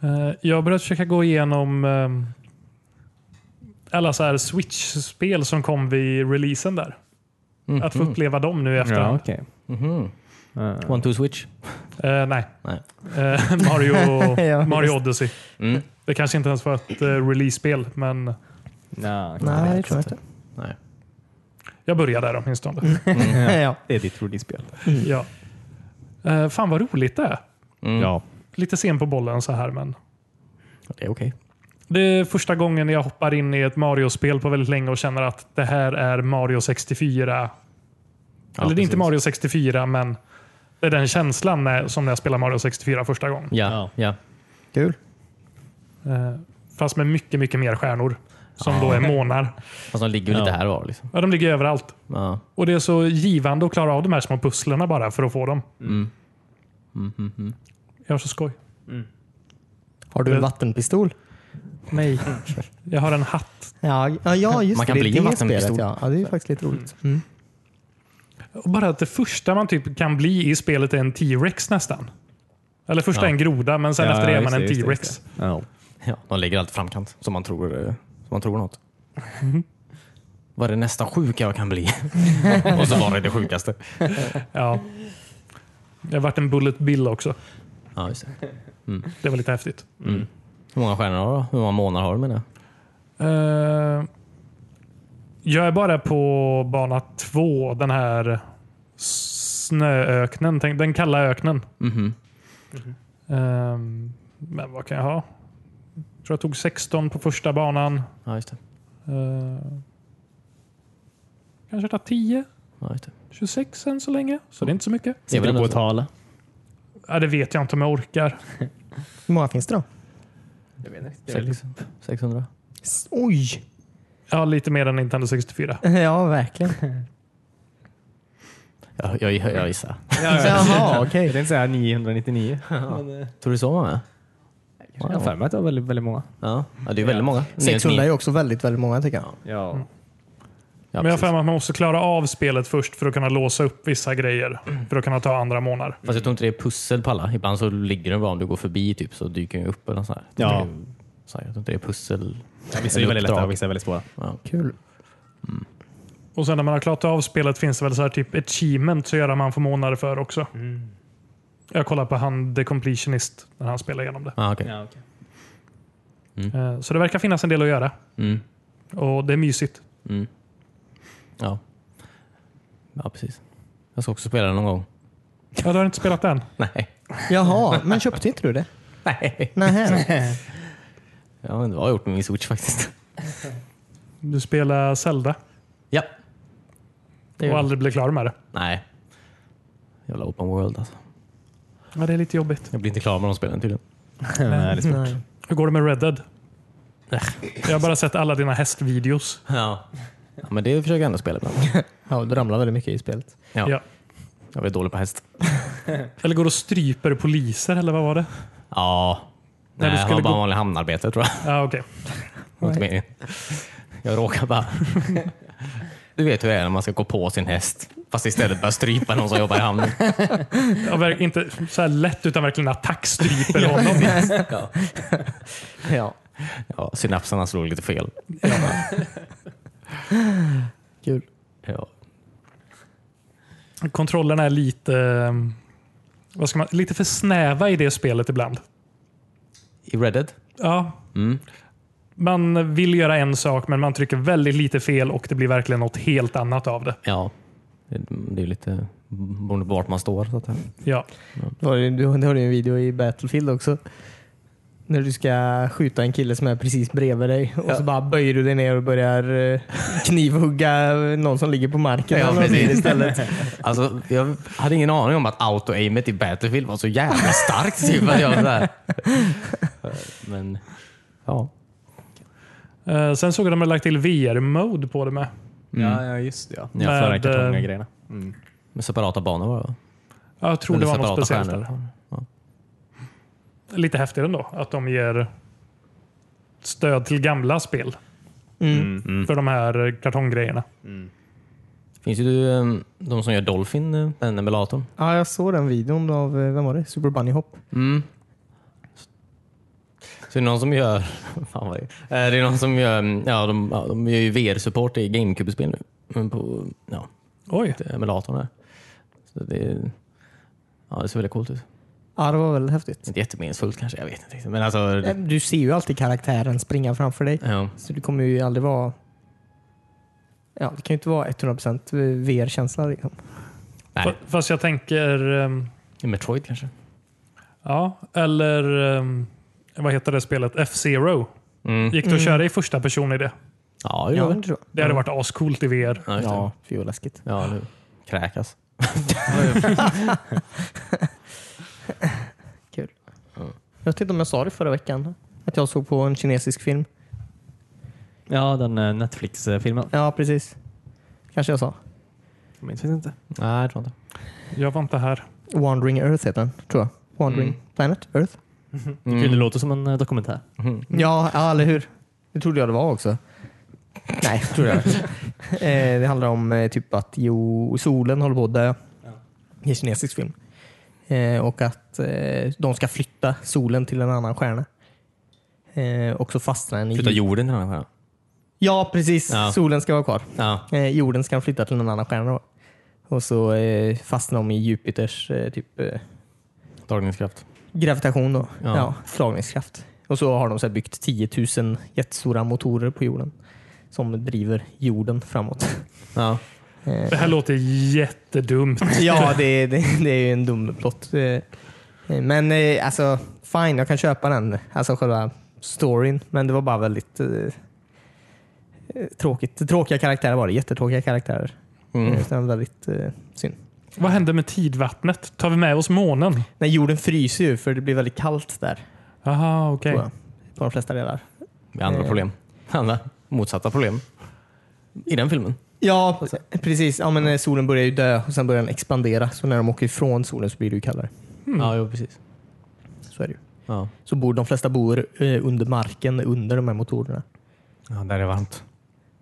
A: Eh, Jag har börjat försöka gå igenom ehm, alla så här Switch-spel som kom vid releasen där.
D: Mm-hmm.
A: Att få uppleva dem nu i
C: Ja,
A: efterhand.
C: okej.
D: Mhm.
C: Eh,
D: One, two, switch.
A: Eh, nej.
D: Nej.
A: Eh,
D: *laughs*
A: Mario,
B: Ja,
A: Mario
B: visst.
A: Odyssey.
D: Mm.
A: Det kanske inte ens var ett eh, release-spel, men
B: Nej,
C: nja, *laughs*
B: det tror jag inte.
D: Nej.
A: jag började där åtminstone.
D: Mm.
B: ja.
C: Det är ditt release-spel.
A: Ja. Eh, fan vad roligt det är.
D: Mm.
C: Ja.
A: Lite sen på bollen så här, men
D: Det är okej.
A: det är första gången jag hoppar in i ett Mario-spel på väldigt länge och känner att det här är Mario 64.
D: Ja,
A: Eller det är inte
D: precis.
A: Mario 64, men det är den känslan när, som när jag spelar Mario 64 första gången.
D: Ja, ja.
B: Kul.
A: Eh, fast med mycket, mycket mer stjärnor. Som då är månar.
D: Fast de ligger ju lite
C: Ja.
D: här och var. Liksom.
A: Ja, de ligger överallt.
D: Ja.
A: Och det är så givande att klara av de här små pusslerna bara för att få dem.
D: Mm.
A: Jag har så skoj.
B: Har du en
A: Det-
B: vattenpistol?
A: Nej. Jag har en hatt.
B: Ja, ja, ja just
D: Man kan
B: det.
D: bli
B: det
D: en
B: är
D: vattenpistol.
B: spelet, Ja. ja, det är ju faktiskt lite roligt.
A: Och bara att det första man typ kan bli i spelet är en T-Rex nästan. Eller först är en groda, men sen
C: Ja,
A: efter det är
C: just
A: man en
C: just det,
A: T-Rex.
C: just det. Ja.
D: Ja, de ligger alltid framkant, som man tror, eh, som man tror något. Mm-hmm. Vad är det nästa sjuka jag kan *laughs* bli? och så var det det sjukaste.
A: Ja. Jag har varit en Bullet Bill också.
D: Ja, just det.
A: Det var lite häftigt.
D: Hur många stjärnor har du? Hur många månader har du menar jag?
A: Eh, jag är bara på bana två, den här snööknen, tänk- den kalla öknen.
D: Mhm.
A: Ehm, men vad kan jag ha? Jag tror jag tog 16 på första banan.
D: Ja, just det.
A: Eh, kanske ta 10,
D: Ja, just det.
A: 26 än så länge. Så det är inte så mycket.
D: Det är
C: Sitter du
D: väl
C: på
D: ändå
C: att
D: så.
C: tala?
A: Ja, det vet jag inte om jag orkar.
B: Hur många finns det då?
D: Sex- 600?
B: S- Oj!
A: Ja, lite mer än Nintendo 64.
B: *laughs* Ja, verkligen.
D: Ja, jag, jag, jag gissar.
B: *laughs* Jaha,
C: Jag
B: okej.
C: tänkte säga 999.
D: Tror du så många?
C: Jag har för mig att det var väldigt, väldigt många.
D: Ja. ja, det är väldigt många.
B: 600 är ju också väldigt, väldigt många tycker jag.
C: Ja.
D: Ja,
A: Men jag har
D: precis.
A: för mig att man måste klara av spelet först för att kunna låsa upp vissa grejer. För att kunna ta andra månader.
D: Fast jag tror inte det är pussel på alla. Ibland så ligger den bara om du går förbi typ, så dyker den upp. Eller något sånt här.
C: Ja.
D: Jag tror det är- Så här, jag tror inte det är pussel.
C: vissa är
D: Eller
C: väldigt
D: uppdrag.
C: lätta och vissa är väldigt svåra.
D: Ja.
B: Kul.
A: Och sen när man har klarat av spelet finns det väl så här typ achievement så gör man får månader för också.
D: Mm.
A: Jag kollar på han The Completionist när han spelar igenom det.
D: Ah, okay.
A: Eh, Så det verkar finnas en del att göra.
D: Mm.
A: Och det är mysigt.
D: Mm. Ja. ja, precis. Jag ska också spela den någon gång.
A: Ja, du har inte spelat den?
D: Nej.
B: Jaha, men köpte inte du det?
D: Nej.
B: Nej.
D: Jag vet inte vad jag har gjort med min switch faktiskt.
A: Du spelar Zelda?
D: Ja.
B: Det
A: Och
B: gör det.
A: aldrig bli klar med det.
D: Nej. Jävla open world alltså.
A: Ja, det är lite jobbigt.
D: Jag blir inte klar med de spelen tydligen.
C: *laughs* Nej, det är svårt.
B: Nej.
A: Hur går det med Red Dead?
D: Äh.
A: Jag har bara sett alla dina hästvideos.
D: Ja. ja men det försöker jag ändå spela ibland.
B: *laughs* Ja, du ramlar väldigt mycket i spelet.
D: Ja.
A: Ja.
D: Jag är dålig på häst.
A: Eller går och stryper poliser, eller vad var det?
D: Ja.
A: Nej,
D: Nej,
A: du
D: jag
A: skulle
D: har bara
A: gå-
D: vanlig hamnarbete *laughs* tror jag.
A: Ja, okej.
D: Det var inte meningen. Jag råkar *laughs* bara... Du vet hur det är när man ska gå på sin häst fast istället börja strypa någon som jobbar i hamnen.
A: Ja, verk- inte så här lätt, utan verkligen
D: *laughs*
A: attackstryper honom.
B: Ja,
D: Ja, synapserna slog lite fel.
B: kul.
D: Ja.
A: Kontrollerna är lite... eh, Vad ska man, lite för snäva i det spelet ibland.
D: I Red Dead?
A: Ja.
D: Mm.
A: Man vill göra en sak, men man trycker väldigt lite fel och det blir verkligen något helt annat av det.
D: Ja. Det- Det är lite beroende på vart man står. Så att säga.
A: Ja.
B: Det var ju- Du du har ju en video i Battlefield också. När du ska skjuta en kille som är precis bredvid dig och så bara böjer du dig ner och börjar eh, knivhugga någon som ligger på marken. eller någonting istället.
D: *laughs* Alltså, jag hade ingen aning om att auto-aimet i Battlefield var så jävla starkt. Typ, att jag var så här. Men ja.
A: Eh, sen såg jag att de har lagt till VR-mode på det med.
C: Ja, ja, just det. Mm. Ja.
D: Med,
C: Ja, Förra
A: eh,
C: kartonggrejerna.
D: Med separata banor var det
A: Ja, Jag tror det var något speciellt. där.
D: Ja.
A: Lite häftigt ändå att de ger stöd till gamla spel Mm.
D: Mm,
A: för de här eh, kartonggrejerna.
D: Finns ju du, eh, de som gör Dolphin, eh, den emulatorn.
B: Ja, jag såg den videon av, eh, vem var det? Super Bunny Hop.
D: Så det är någon som gör... *laughs* Fan vad det, är. Eh, det är någon som gör... mm, Ja, de, ja, de gör ju VR-support i GameCube-spel nu. Men På ja,
A: Oj,
D: emulatorn här. Så det, är- ja, det ser väldigt coolt ut.
B: Ja, det var väldigt häftigt.
D: Inte jättemeningsfullt kanske, jag vet inte. Men alltså...
B: Eh,
D: det-
B: Du ser ju alltid karaktären springa framför dig.
D: Ja.
B: Så det kommer ju aldrig vara... Ja, det kan ju inte vara 100% VR-känsla. Liksom.
D: Nej,
A: Fa- fast jag tänker... ehm,
D: i Metroid kanske.
A: Ja, eller ehm, vad heter det spelet? F-Zero.
D: Mm.
A: Gick det att köra i första person i det?
D: Ja, det gör det.
B: tror
A: Det hade varit ascoolt i VR.
D: Ja, just det.
B: Ja, fy vad läskigt.
D: ja nu. Kräkas.
B: Kul. Jag vet inte om jag sa det förra veckan. Att jag såg på en kinesisk film.
C: Ja, den eh, Netflix-filmen.
B: Ja, precis. Kanske jag sa.
C: Jag minns inte.
D: Nej, jag tror inte.
A: Jag var inte här.
B: Wandering Earth heter den, tror jag. Wandering
D: Mm.
B: Planet Earth.
C: Kul, Det låter som en eh, dokumentär.
D: Mm.
B: Ja, ja, eller hur? Det trodde jag det var också. Nej, *laughs* tror jag. Eh, det handlar om eh, typ att jo, solen håller på att dö. I en kinesisk film. Eh, Och att eh, de ska flytta solen till en annan stjärna. Eh, Och så fastnar den i...
D: Flytta jorden till den här.
B: Ja, precis.
D: Ja.
B: Solen ska vara kvar.
D: Ja.
B: Eh, jorden ska flytta till en annan stjärna. Då. Och så eh, fastnar de i Jupiters eh, typ, eh,
D: Dragningskraft.
B: gravitation. Då. Ja.
D: Ja.
B: dragningskraft. Och så har de så här byggt 10 000 jättestora motorer på jorden som driver jorden framåt. *laughs*
D: Ja.
A: Det här låter jättedumt.
B: ja, det, det, det är ju en dum plott. Eh, Men eh, alltså, fine, jag kan köpa den. Alltså själva storyn. Men det var bara väldigt eh, eh, tråkigt. Tråkiga karaktärer var det. Jättetråkiga karaktärer.
D: Mm.
B: Eh, så den var väldigt eh, synd.
A: *laughs* Vad händer med tidvattnet? Tar vi med oss månen?
B: Nej, jorden fryser ju för det blir väldigt kallt där.
A: Aha, okej.
B: Tror jag, på de flesta delar.
D: Med andra
B: Eh.
D: problem. *laughs* Andra motsatta problem. I den filmen.
B: Ja, precis. Ja, men eh, solen börjar ju dö och sen börjar den expandera. Så när de åker ifrån solen så blir det ju kallare.
D: Ja, jo, precis.
B: Så är det ju.
D: Ja.
B: Så bor, de flesta bor eh, under marken, under de här motorerna.
D: ja, där är det varmt.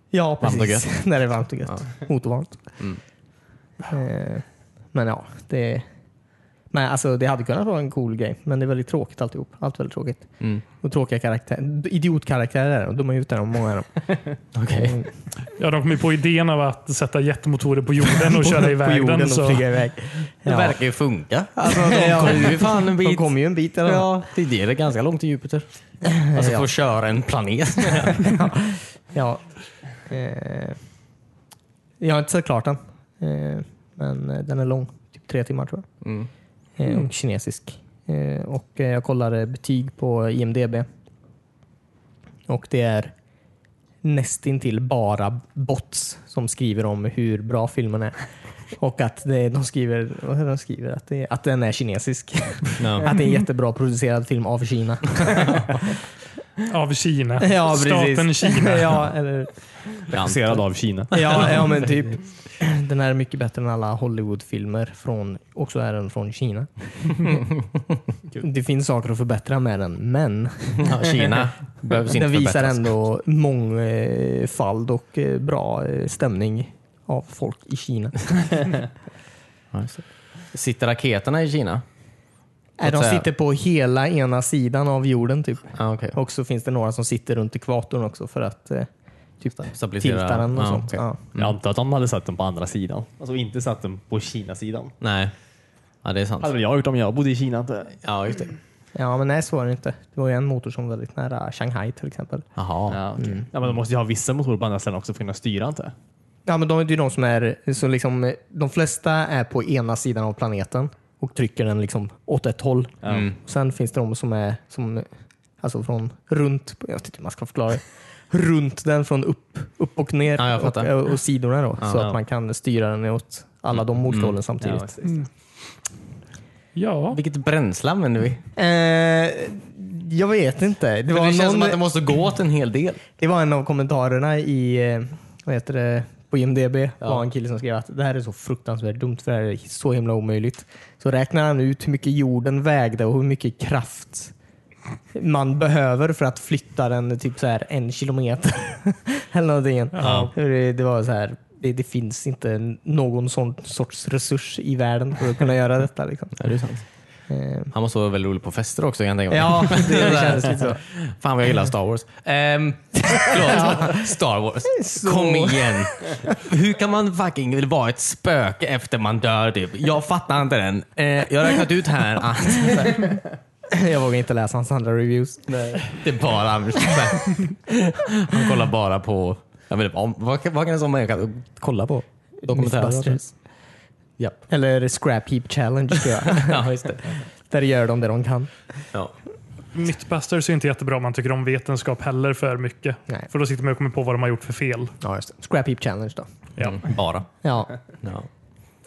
B: Ja,
D: Varmt och
B: precis. *laughs* när det är varmt och gött. Motorvarmt.
D: Mm.
B: Eh, men ja, det, men alltså, det hade kunnat vara en cool grej. Men det är väldigt tråkigt alltihop. Allt väldigt tråkigt.
D: Mm.
B: Och tråkiga karaktärer. Idiotkaraktärer är det. och De är ute där, många av dem.
D: Okej.
B: Mm.
A: Ja, de kom ju på idén av att sätta jättemotorer på jorden *laughs* och köra
B: *laughs* på
A: iväg
B: jorden
A: den.
B: och
A: Så.
B: flyga iväg.
D: Det
B: Ja.
D: verkar ju funka. Alltså,
B: Ja.
D: de kommer ju fan
B: De
D: en bit.
B: kommer ju en bit i alla fall.
D: Ja, det är det. Det är ganska långt till Jupiter. Alltså, för att köra en *laughs* planet.
B: Ja. Eh, jag har inte sett klart den. Eh, men eh, den är lång. Typ tre timmar tror
D: Mm.
B: jag. Eh, Och kinesisk. Eh, och eh, jag kollade betyg på IMDB. Och det är nästintill bara bots som skriver om hur bra filmen är. Och att det, de skriver, vad är det de skriver? Att, det, att den är kinesisk. *laughs*
C: Ja.
B: Att det är en jättebra producerad film av Kina.
A: Av *laughs* Kina.
B: Ja, precis.
A: Staten Kina.
B: *laughs* ja, eller,
C: Regisserad av Kina.
B: ja, ja, men typ. Den här är mycket bättre än alla Hollywoodfilmer. Från, också är den från
D: *laughs*
B: Kina. det finns saker att förbättra med den, men *laughs*
D: Ja, Kina behövs inte alltså.
B: den visar
D: förbättras.
B: ändå mångfald och eh, bra eh, stämning av folk i Kina.
D: Ja, just det. Sitter raketerna i Kina?
B: Nej, de
D: säga-
B: sitter på hela ena sidan av jorden typ.
D: Ah, okay.
B: Och så finns det några som sitter runt ekvatorn också för att eh, typ
C: Mm.
D: Stabilisera.
B: tilta den och
D: Ja,
B: sånt.
D: okej.
B: Ja.
C: Jag antar att de hade satt den på andra sidan. Alltså inte satt den på Kinasidan.
D: Nej. Ja, det är sant.
C: Hade väl jag gjort om jag bodde i Kina. antar jag.
D: Ja, just det.
B: ja, men nej så var det inte. Det var ju en motor som var väldigt nära Shanghai till exempel.
D: Jaha.
C: Ja, Mm. okej. ja, men de måste ju ha vissa motorer på andra ställen också för att kunna styra antar jag.
B: Ja, men de är ju de som är, så liksom, eh, de flesta är på ena sidan av planeten och trycker den liksom åt ett håll.
D: Mm.
B: Sen finns det de som är som, alltså från runt, jag vet inte hur man ska förklara det, runt den från upp, upp och ner
D: Ja, jag
B: och, eh,
D: fattar.
B: och sidorna då, så
D: ja. Mm.
B: att man kan styra den åt alla de olika hållen
C: Ja,
B: samtidigt.
C: precis.
A: Ja.
D: Vilket bränsle använder vi?
B: eh, jag vet inte. Det
D: Det,
B: var,
D: det känns som att det
B: någon,
D: måste gå åt en hel del.
B: det var en av kommentarerna i, eh, vad heter det, på IMDB var en kille som skrev att det här är så fruktansvärt dumt för det här är så himla omöjligt. Så räknar han ut hur mycket jorden vägde och hur mycket kraft man behöver för att flytta den typ så här en kilometer. *laughs* Eller någonting.
A: Ja.
B: Det det var så här, det, det finns inte någon sån sorts resurs i världen för att kunna göra detta. Liksom.
D: Ja, det är sant.
B: Eh,
D: Han måste vara väldigt rolig på fester också kan jag tänka mig.
B: Ja,
D: *laughs*
B: det kändes
A: *laughs*
B: lite så.
D: Fan vad jag gillar Star Wars. Ehm, förlåt. Star Wars.
B: Så-
D: Kom igen. Hur kan man fucking vara ett spöke efter man dör typ? Jag fattar inte den. Eh, jag har räknat ut här att
B: Jag vågar inte läsa hans andra reviews.
D: det är bara Anders. Han kollar bara på... Jag vet, inte, om, vad, kan- vad kan en sån människa kolla på? Dokumentärer?
B: Mythbusters.
D: Japp.
B: Eller Scrap Heap Challenge tror jag. *laughs*
D: Ja, just det.
B: Där gör de det de kan.
D: Ja.
A: Mythbusters är inte jättebra om man tycker om vetenskap heller för mycket.
B: Nej.
A: För då sitter man och kommer på vad de har gjort för fel.
B: Ja, just det. Scrap Heap Challenge då.
A: Ja.
D: Mm, bara.
B: Ja,
D: Ja.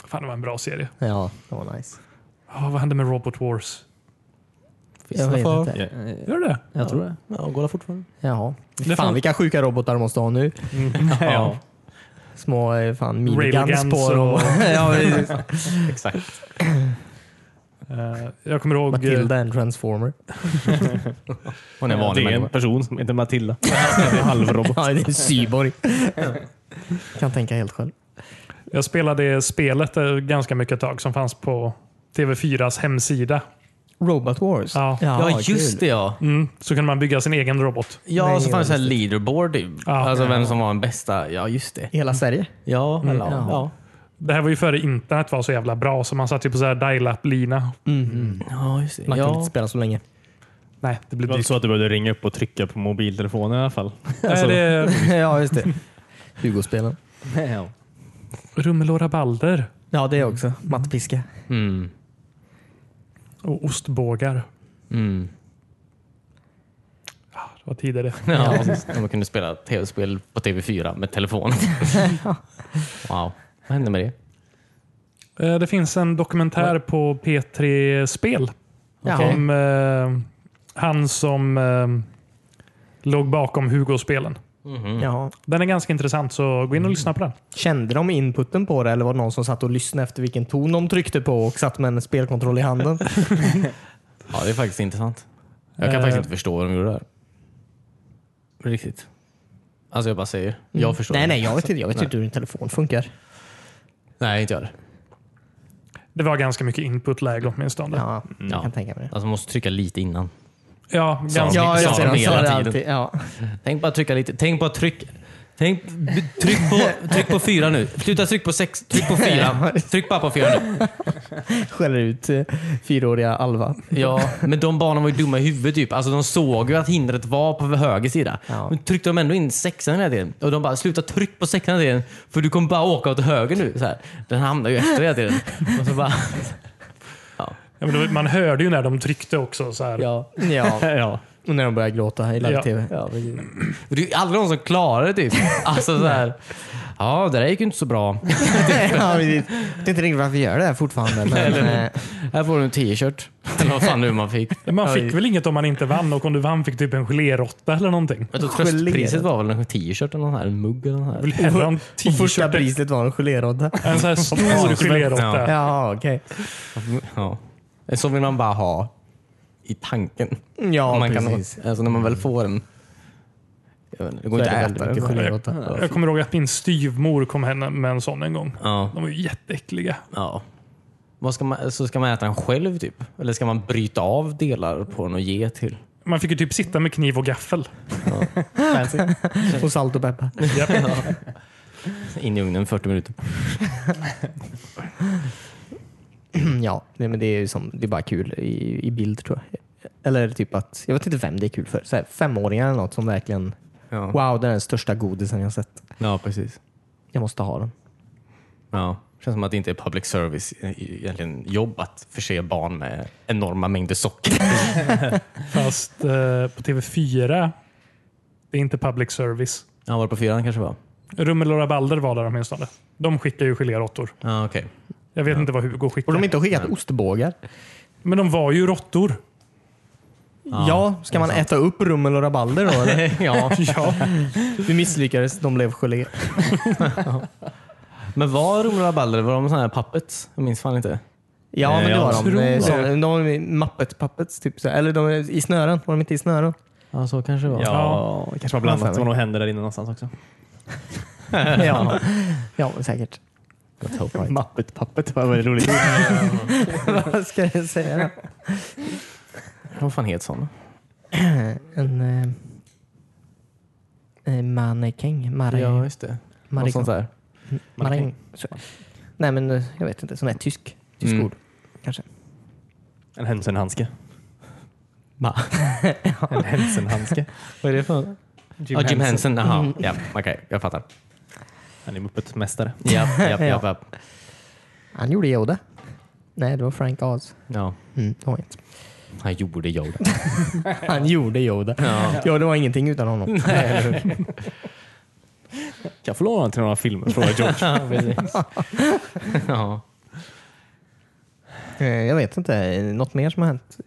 A: Fan, det var en bra serie.
B: ja det var nice.
A: Ja, vad hände med Robot Wars?
B: Jag vet inte.
C: Ja,
A: Gör det?
C: jag tror det.
D: Ja, går fortfarande?
B: Jaha.
A: Det
B: Fan
A: fanns-
B: vilka sjuka robotar de måste ha *laughs* nu.
C: Mm. Ja.
B: Små eh, fan miniguns
A: Railguns
B: på dem.
A: och-
B: *laughs* ja, precis.
D: Exakt.
A: *laughs* Eh, jag kommer ihåg...
B: Matilda en transformer.
D: Hon är en vanlig
C: det är en
D: människa.
C: person som heter Matilda. Det är en
B: *laughs*
C: halvrobot.
B: Ja, det är en cyborg. *laughs* kan tänka helt själv.
A: Jag spelade spelet eh, ganska mycket ett tag som fanns på TV4s hemsida.
B: Robot Wars.
A: Ja.
D: Ja, just
B: kul.
D: det ja.
A: Mm, så kunde man bygga sin egen robot.
D: Ja, och så
B: Nej,
D: fanns det
B: just
D: här leaderboard. Typ.
A: Ja.
D: alltså
A: Ja.
D: vem som var den bästa. Ja, just det.
B: I hela Sverige?
D: Ja, eller,
B: Ja.
D: ja.
A: Det här var ju före internet var så jävla bra, så man satt ju på så här dial-up-lina.
D: ja, just det.
B: Man kunde
D: Ja.
B: inte spela så länge. *laughs*
A: Nej, det
C: Det
A: blir
C: var inte
A: dyrt.
C: så att du behövde ringa upp och trycka på mobiltelefonen i alla fall.
A: Nej,
C: Alltså, *laughs*
A: det är
B: ja, just *laughs* det. Hugo-spelen.
C: Ja.
A: rummel och rabalder
B: Ja, det också. Mattpiska.
D: Mm.
A: och ostbågar.
D: Mm.
A: Det var tider det.
D: Ja, precis. man kunde spela tv-spel på TV4 med *laughs* telefonen. wow. Vad hände med det?
A: Eh, Det finns en dokumentär på P3 Spel
B: Jaha.
A: om eh, han som eh, låg bakom Hugo-spelen.
B: Jaha.
A: Den är ganska intressant, så gå in och lyssna på den.
B: Kände de inputen på det eller var det någon som satt och lyssnade efter vilken ton de tryckte på och satt med en spelkontroll i *laughs* handen?
D: Ja, det är faktiskt intressant. Jag kan
A: Eh.
D: faktiskt inte förstå vad de gjorde där. Riktigt. Alltså jag bara säger. Jag förstår
B: nej,
D: inte.
B: nej, jag vet inte. Jag vet inte hur en telefon funkar.
D: Nej, inte jag heller.
A: Det var ganska mycket input-läge åtminstone. Ja,
B: Ja, mm. jag
D: Ja.
B: kan tänka mig det.
D: Alltså man måste trycka lite innan.
A: ganska
D: Ja, jag
A: intressant.
D: ser det. hela tiden.
B: Ja.
D: Tänk bara trycka lite. Tänk bara tryck. Tänk, b- tryck, på, tryck på fyra nu. Sluta tryck på sex. Tryck på fyra. Tryck bara på fyra nu.
B: *laughs* Skäller ut eh, fyraåriga Alva.
D: Ja, men de barnen var ju dumma i huvudet typ. Alltså de såg ju att hindret var på höger sida.
B: Ja.
D: Men tryckte de ändå in sexan hela tiden. Och de bara, sluta tryck på sexan hela tiden. För du kommer bara åka åt höger nu. Så här. Den hamnar ju efter hela tiden. Och så bara,
A: Ja, men det var- man hörde ju när de tryckte också. Så här.
D: ja.
B: Ja.
C: ja.
B: Och när de börjar gråta i live-tv.
C: Ja, men-
D: Det är ju aldrig någon som klarar det *laughs* typ. Alltså så här. Ja, det där gick ju inte så bra.
B: *laughs* Ja, precis. det är inte riktigt varför vi gör det här fortfarande. Men, *laughs* eh,
D: Här får du en t-shirt. *laughs* Eller vad fan nu man fick.
A: Man fick väl inget om man inte vann och om du vann fick du typ en geléråtta eller någonting.
D: Jag tror tröstpriset var väl en t-shirt eller någon här, en mugg eller något här.
A: Vill hellre ha en
B: *laughs* och första
A: t-shirt.
B: priset var en geléråtta.
A: En sån här stor geléråtta.
B: Ja, okej.
D: Ja. Så vill man bara ha i tanken.
B: Ja,
D: Om man kan,
B: precis.
D: alltså när man väl får en... Jag vet inte, det går
B: Så
D: inte
B: är det
D: att
B: väldigt
D: äta
B: mycket *laughs*
D: den.
B: geléråtta.
A: Jag kommer ihåg att min styvmor kom hem med en sån en gång.
D: Ja.
A: De var ju jätteäckliga.
D: Ja. Vad ska man, så ska man äta den själv typ? Eller ska man bryta av delar på den och ge till?
A: Man fick ju typ sitta med kniv och gaffel.
B: Och salt och peppar.
A: Japp.
D: In i ugnen 40 minuter.
B: *clears throat* Ja, nej, men det är ju som, det är bara kul i, i bild tror jag. Eller typ att, jag vet inte vem det är kul för. Så här, femåringar eller något som verkligen,
D: Ja.
B: wow det är den största godisen jag har sett.
D: Ja, precis.
B: Jag måste ha den.
D: Ja. Känns som att det inte är public service eh, egentligen jobb att förse barn med enorma mängder socker.
A: Fast eh, på TV4, det är inte public service.
D: Ja, var det på fyran kanske var?
A: Rummel och rabalder var där åtminstone. De skickar ju geléråttor.
D: Ja, okej.
A: Jag vet inte vad Hugo
B: Och
A: skickar.
B: de inte har skickat ostbågar.
A: Men de var ju råttor.
B: Ja, ska man äta upp rummel och rabalder då? eller? *laughs*
D: ja.
A: Ja.
B: Vi misslyckades, de blev gelé.
D: Men var Romer och Rabalder, var de sådana här puppets? Jag minns fan inte.
B: Ja, men det
C: jag
B: var de.
A: tror
B: Eh,
A: det.
B: Så, de var i Muppet Puppets, typ. så här. Eller de är i snören. Var de inte i snören?
D: Ja, så kanske det var.
C: Ja, det kanske var blandat. Det var nog händer där inne någonstans också.
B: *laughs* ja. ja, säkert. Muppet Puppet var väldigt
C: *laughs*
B: roligt. Vad ska jag säga?
D: Vad fan heter sådana?
B: En eh, eh, mannekäng. Maräng.
D: Ja, just det. Något sånt där.
B: Maräng. Så. Nej, men eh, jag vet inte. Sån här tysk. Tysk
D: Mm.
B: ord. Kanske.
C: En hönsenhandske.
D: Va?
C: *laughs* En *laughs* hönsenhandske.
D: Vad är det för Jim, ah, Jim Henson, jaha. Ja, okej. Jag fattar.
C: Han är Muppet-mästare.
D: Ja, ja, ja,
B: Ja.
D: ja.
B: Han gjorde Yoda. Nej, det var Frank Oz.
D: ja.
B: Mm, det var
D: *laughs*
B: inte.
D: Han gjorde Yoda.
B: Han gjorde Yoda. Ja. det var ingenting utan *laughs* honom.
C: Jag får låna den till några filmer, frågar George.
D: *laughs* ja, precis. *laughs* ja.
B: Eh, Jag vet inte. Eh, Något mer som har hänt?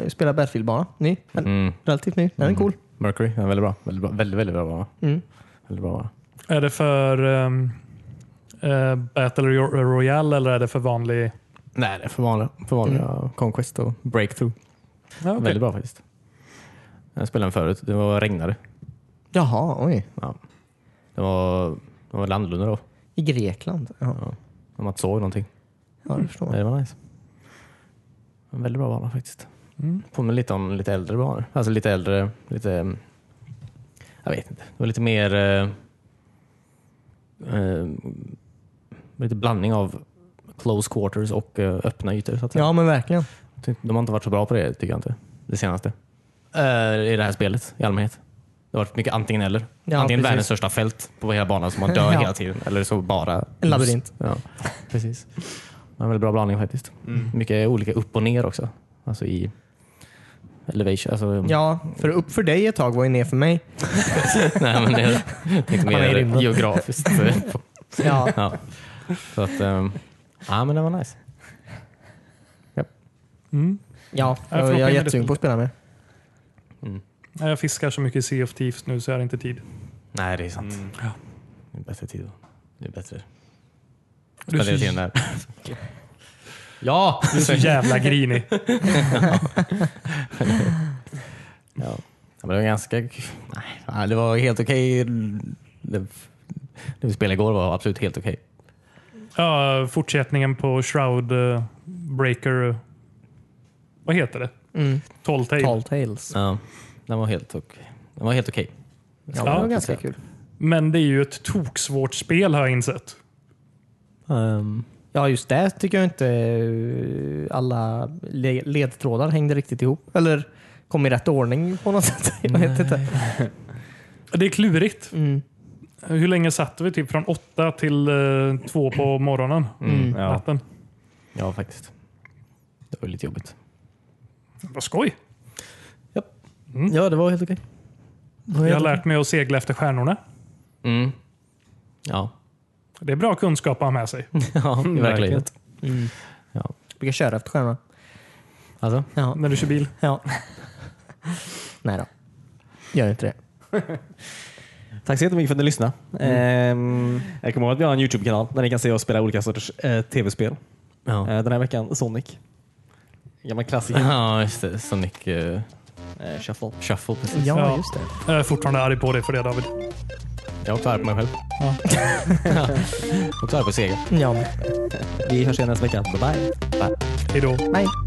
B: Eh, Spela Battlefield bara. Ny. Men
D: Mm.
B: Relativt ny. Den är cool.
D: Mercury, ja, väldigt bra. Väldigt bra, väldigt, väldigt bra vara.
B: Mm.
D: Väldigt bra vara.
A: Är det för ehm, eh, Battle Ro- Royale eller är det för vanlig?
D: Nej, det är för vanliga, för vanliga Conquest och Breakthrough.
A: Ja, okej.
D: Väldigt bra faktiskt. Jag spelade den förut. Det var regnade.
B: Jaha, oj.
D: Ja. Det var, det var landlunde då.
B: I Grekland. Ja,
D: När man inte såg någonting.
B: ja det förstår man.
D: Det var nice. En väldigt bra bana faktiskt.
A: Mm,
D: Påminner lite om lite äldre banor. Alltså lite äldre, lite... mm, Jag vet inte. Det var lite mer... eh, eh, lite blandning av close quarters och eh, öppna ytor. Så att säga.
B: Ja, men verkligen.
D: Ty- De har inte varit så bra på det tycker jag inte. Det senaste. Eh, I det här spelet i allmänhet. Det har varit mycket antingen eller.
B: Ja,
D: antingen
B: precis.
D: världens största fält på hela banan som man
B: *laughs*
D: dör
B: Ja.
D: hela tiden. Eller så bara...
B: En labyrint.
D: Ja, precis. Det var en väldigt bra blandning faktiskt.
C: Mm.
D: Mycket olika upp och ner också. Alltså i elevation. Alltså,
B: Ja, för upp för dig ett tag var ju ner för mig.
D: *laughs* nej, men det,
B: *laughs*
D: jag tänkte
B: Han är i rymden.
D: mer geografiskt.
B: *laughs* Ja.
D: ja. Så att, ehm, ja men det var nice.
A: Mm.
B: Ja,
A: Ja,
B: *laughs* jag, jag är
A: förlåt,
B: jättesugen på att spela med.
A: Nej, Jag fiskar så mycket i Sea of Thieves nu så jag har inte tid.
D: Nej, det är sant.
A: Ja.
D: Det är bättre tid. då. Det är bättre.
A: Du är
D: Spendera
A: så,
D: tiden
B: *laughs*
D: där. Ja!
A: du är så jävla grinig.
D: Ja. Men det var ganska... Nej, fan, det var helt okej. Det, det vi spelade igår var absolut helt okej.
A: Ja, fortsättningen på Shroud eh, Breaker. eh, Vad heter det?
B: Mm.
A: Tall Tale.
B: Tall Tales.
D: Ja, den var helt okej. Den var helt okej.
B: Ja, det var
A: Ja,
B: ganska kul.
A: Men det är ju ett toksvårt spel har jag insett.
B: Ja, just det tycker jag inte eh, alla le- ledtrådar hängde riktigt ihop. Eller kom i rätt ordning på något sätt. *laughs* Jag vet inte.
A: Det är klurigt.
B: Mm.
A: Hur länge satt vi? Typ från åtta till eh, två på morgonen.
B: Mm.
C: Ja.
A: Natten.
D: Ja, faktiskt. Det var lite jobbigt.
A: Vad skoj.
B: Ja, det var helt okej. Det var
A: Jag har
B: helt
A: lärt mig att segla efter stjärnorna.
D: Mm. Ja,
A: Det är bra kunskap att ha med sig.
D: ja verkligen.
B: okej. Mm.
D: Ja.
B: Brukar köra efter stjärnorna.
D: Alltså?
B: Ja.
A: När du kör bil.
B: ja. Nej då. Gör inte det.
C: Tack så jättemycket för att ni lyssnade.
D: Mm.
C: Ehm, jag kommer ihåg att vi har en Youtube-kanal där ni kan se oss spela olika sorters eh, tv-spel.
D: Ja.
C: Eh, den här veckan Sonic. Gammal
D: *laughs*
C: klassiker.
D: Ja, just det. Sonic eh,
C: Eh, shuffle.
D: Shuffle precis.
B: Ja,
A: Ja.
B: just det.
A: Jag är fortfarande arg på dig för det David.
D: Jag är också arg på mig själv. *laughs*
A: Ja.
D: också arg på Sega.
B: Ja, men.
C: Vi hörs igen nästa vecka. Bye bye.
A: Hejdå.
B: nej.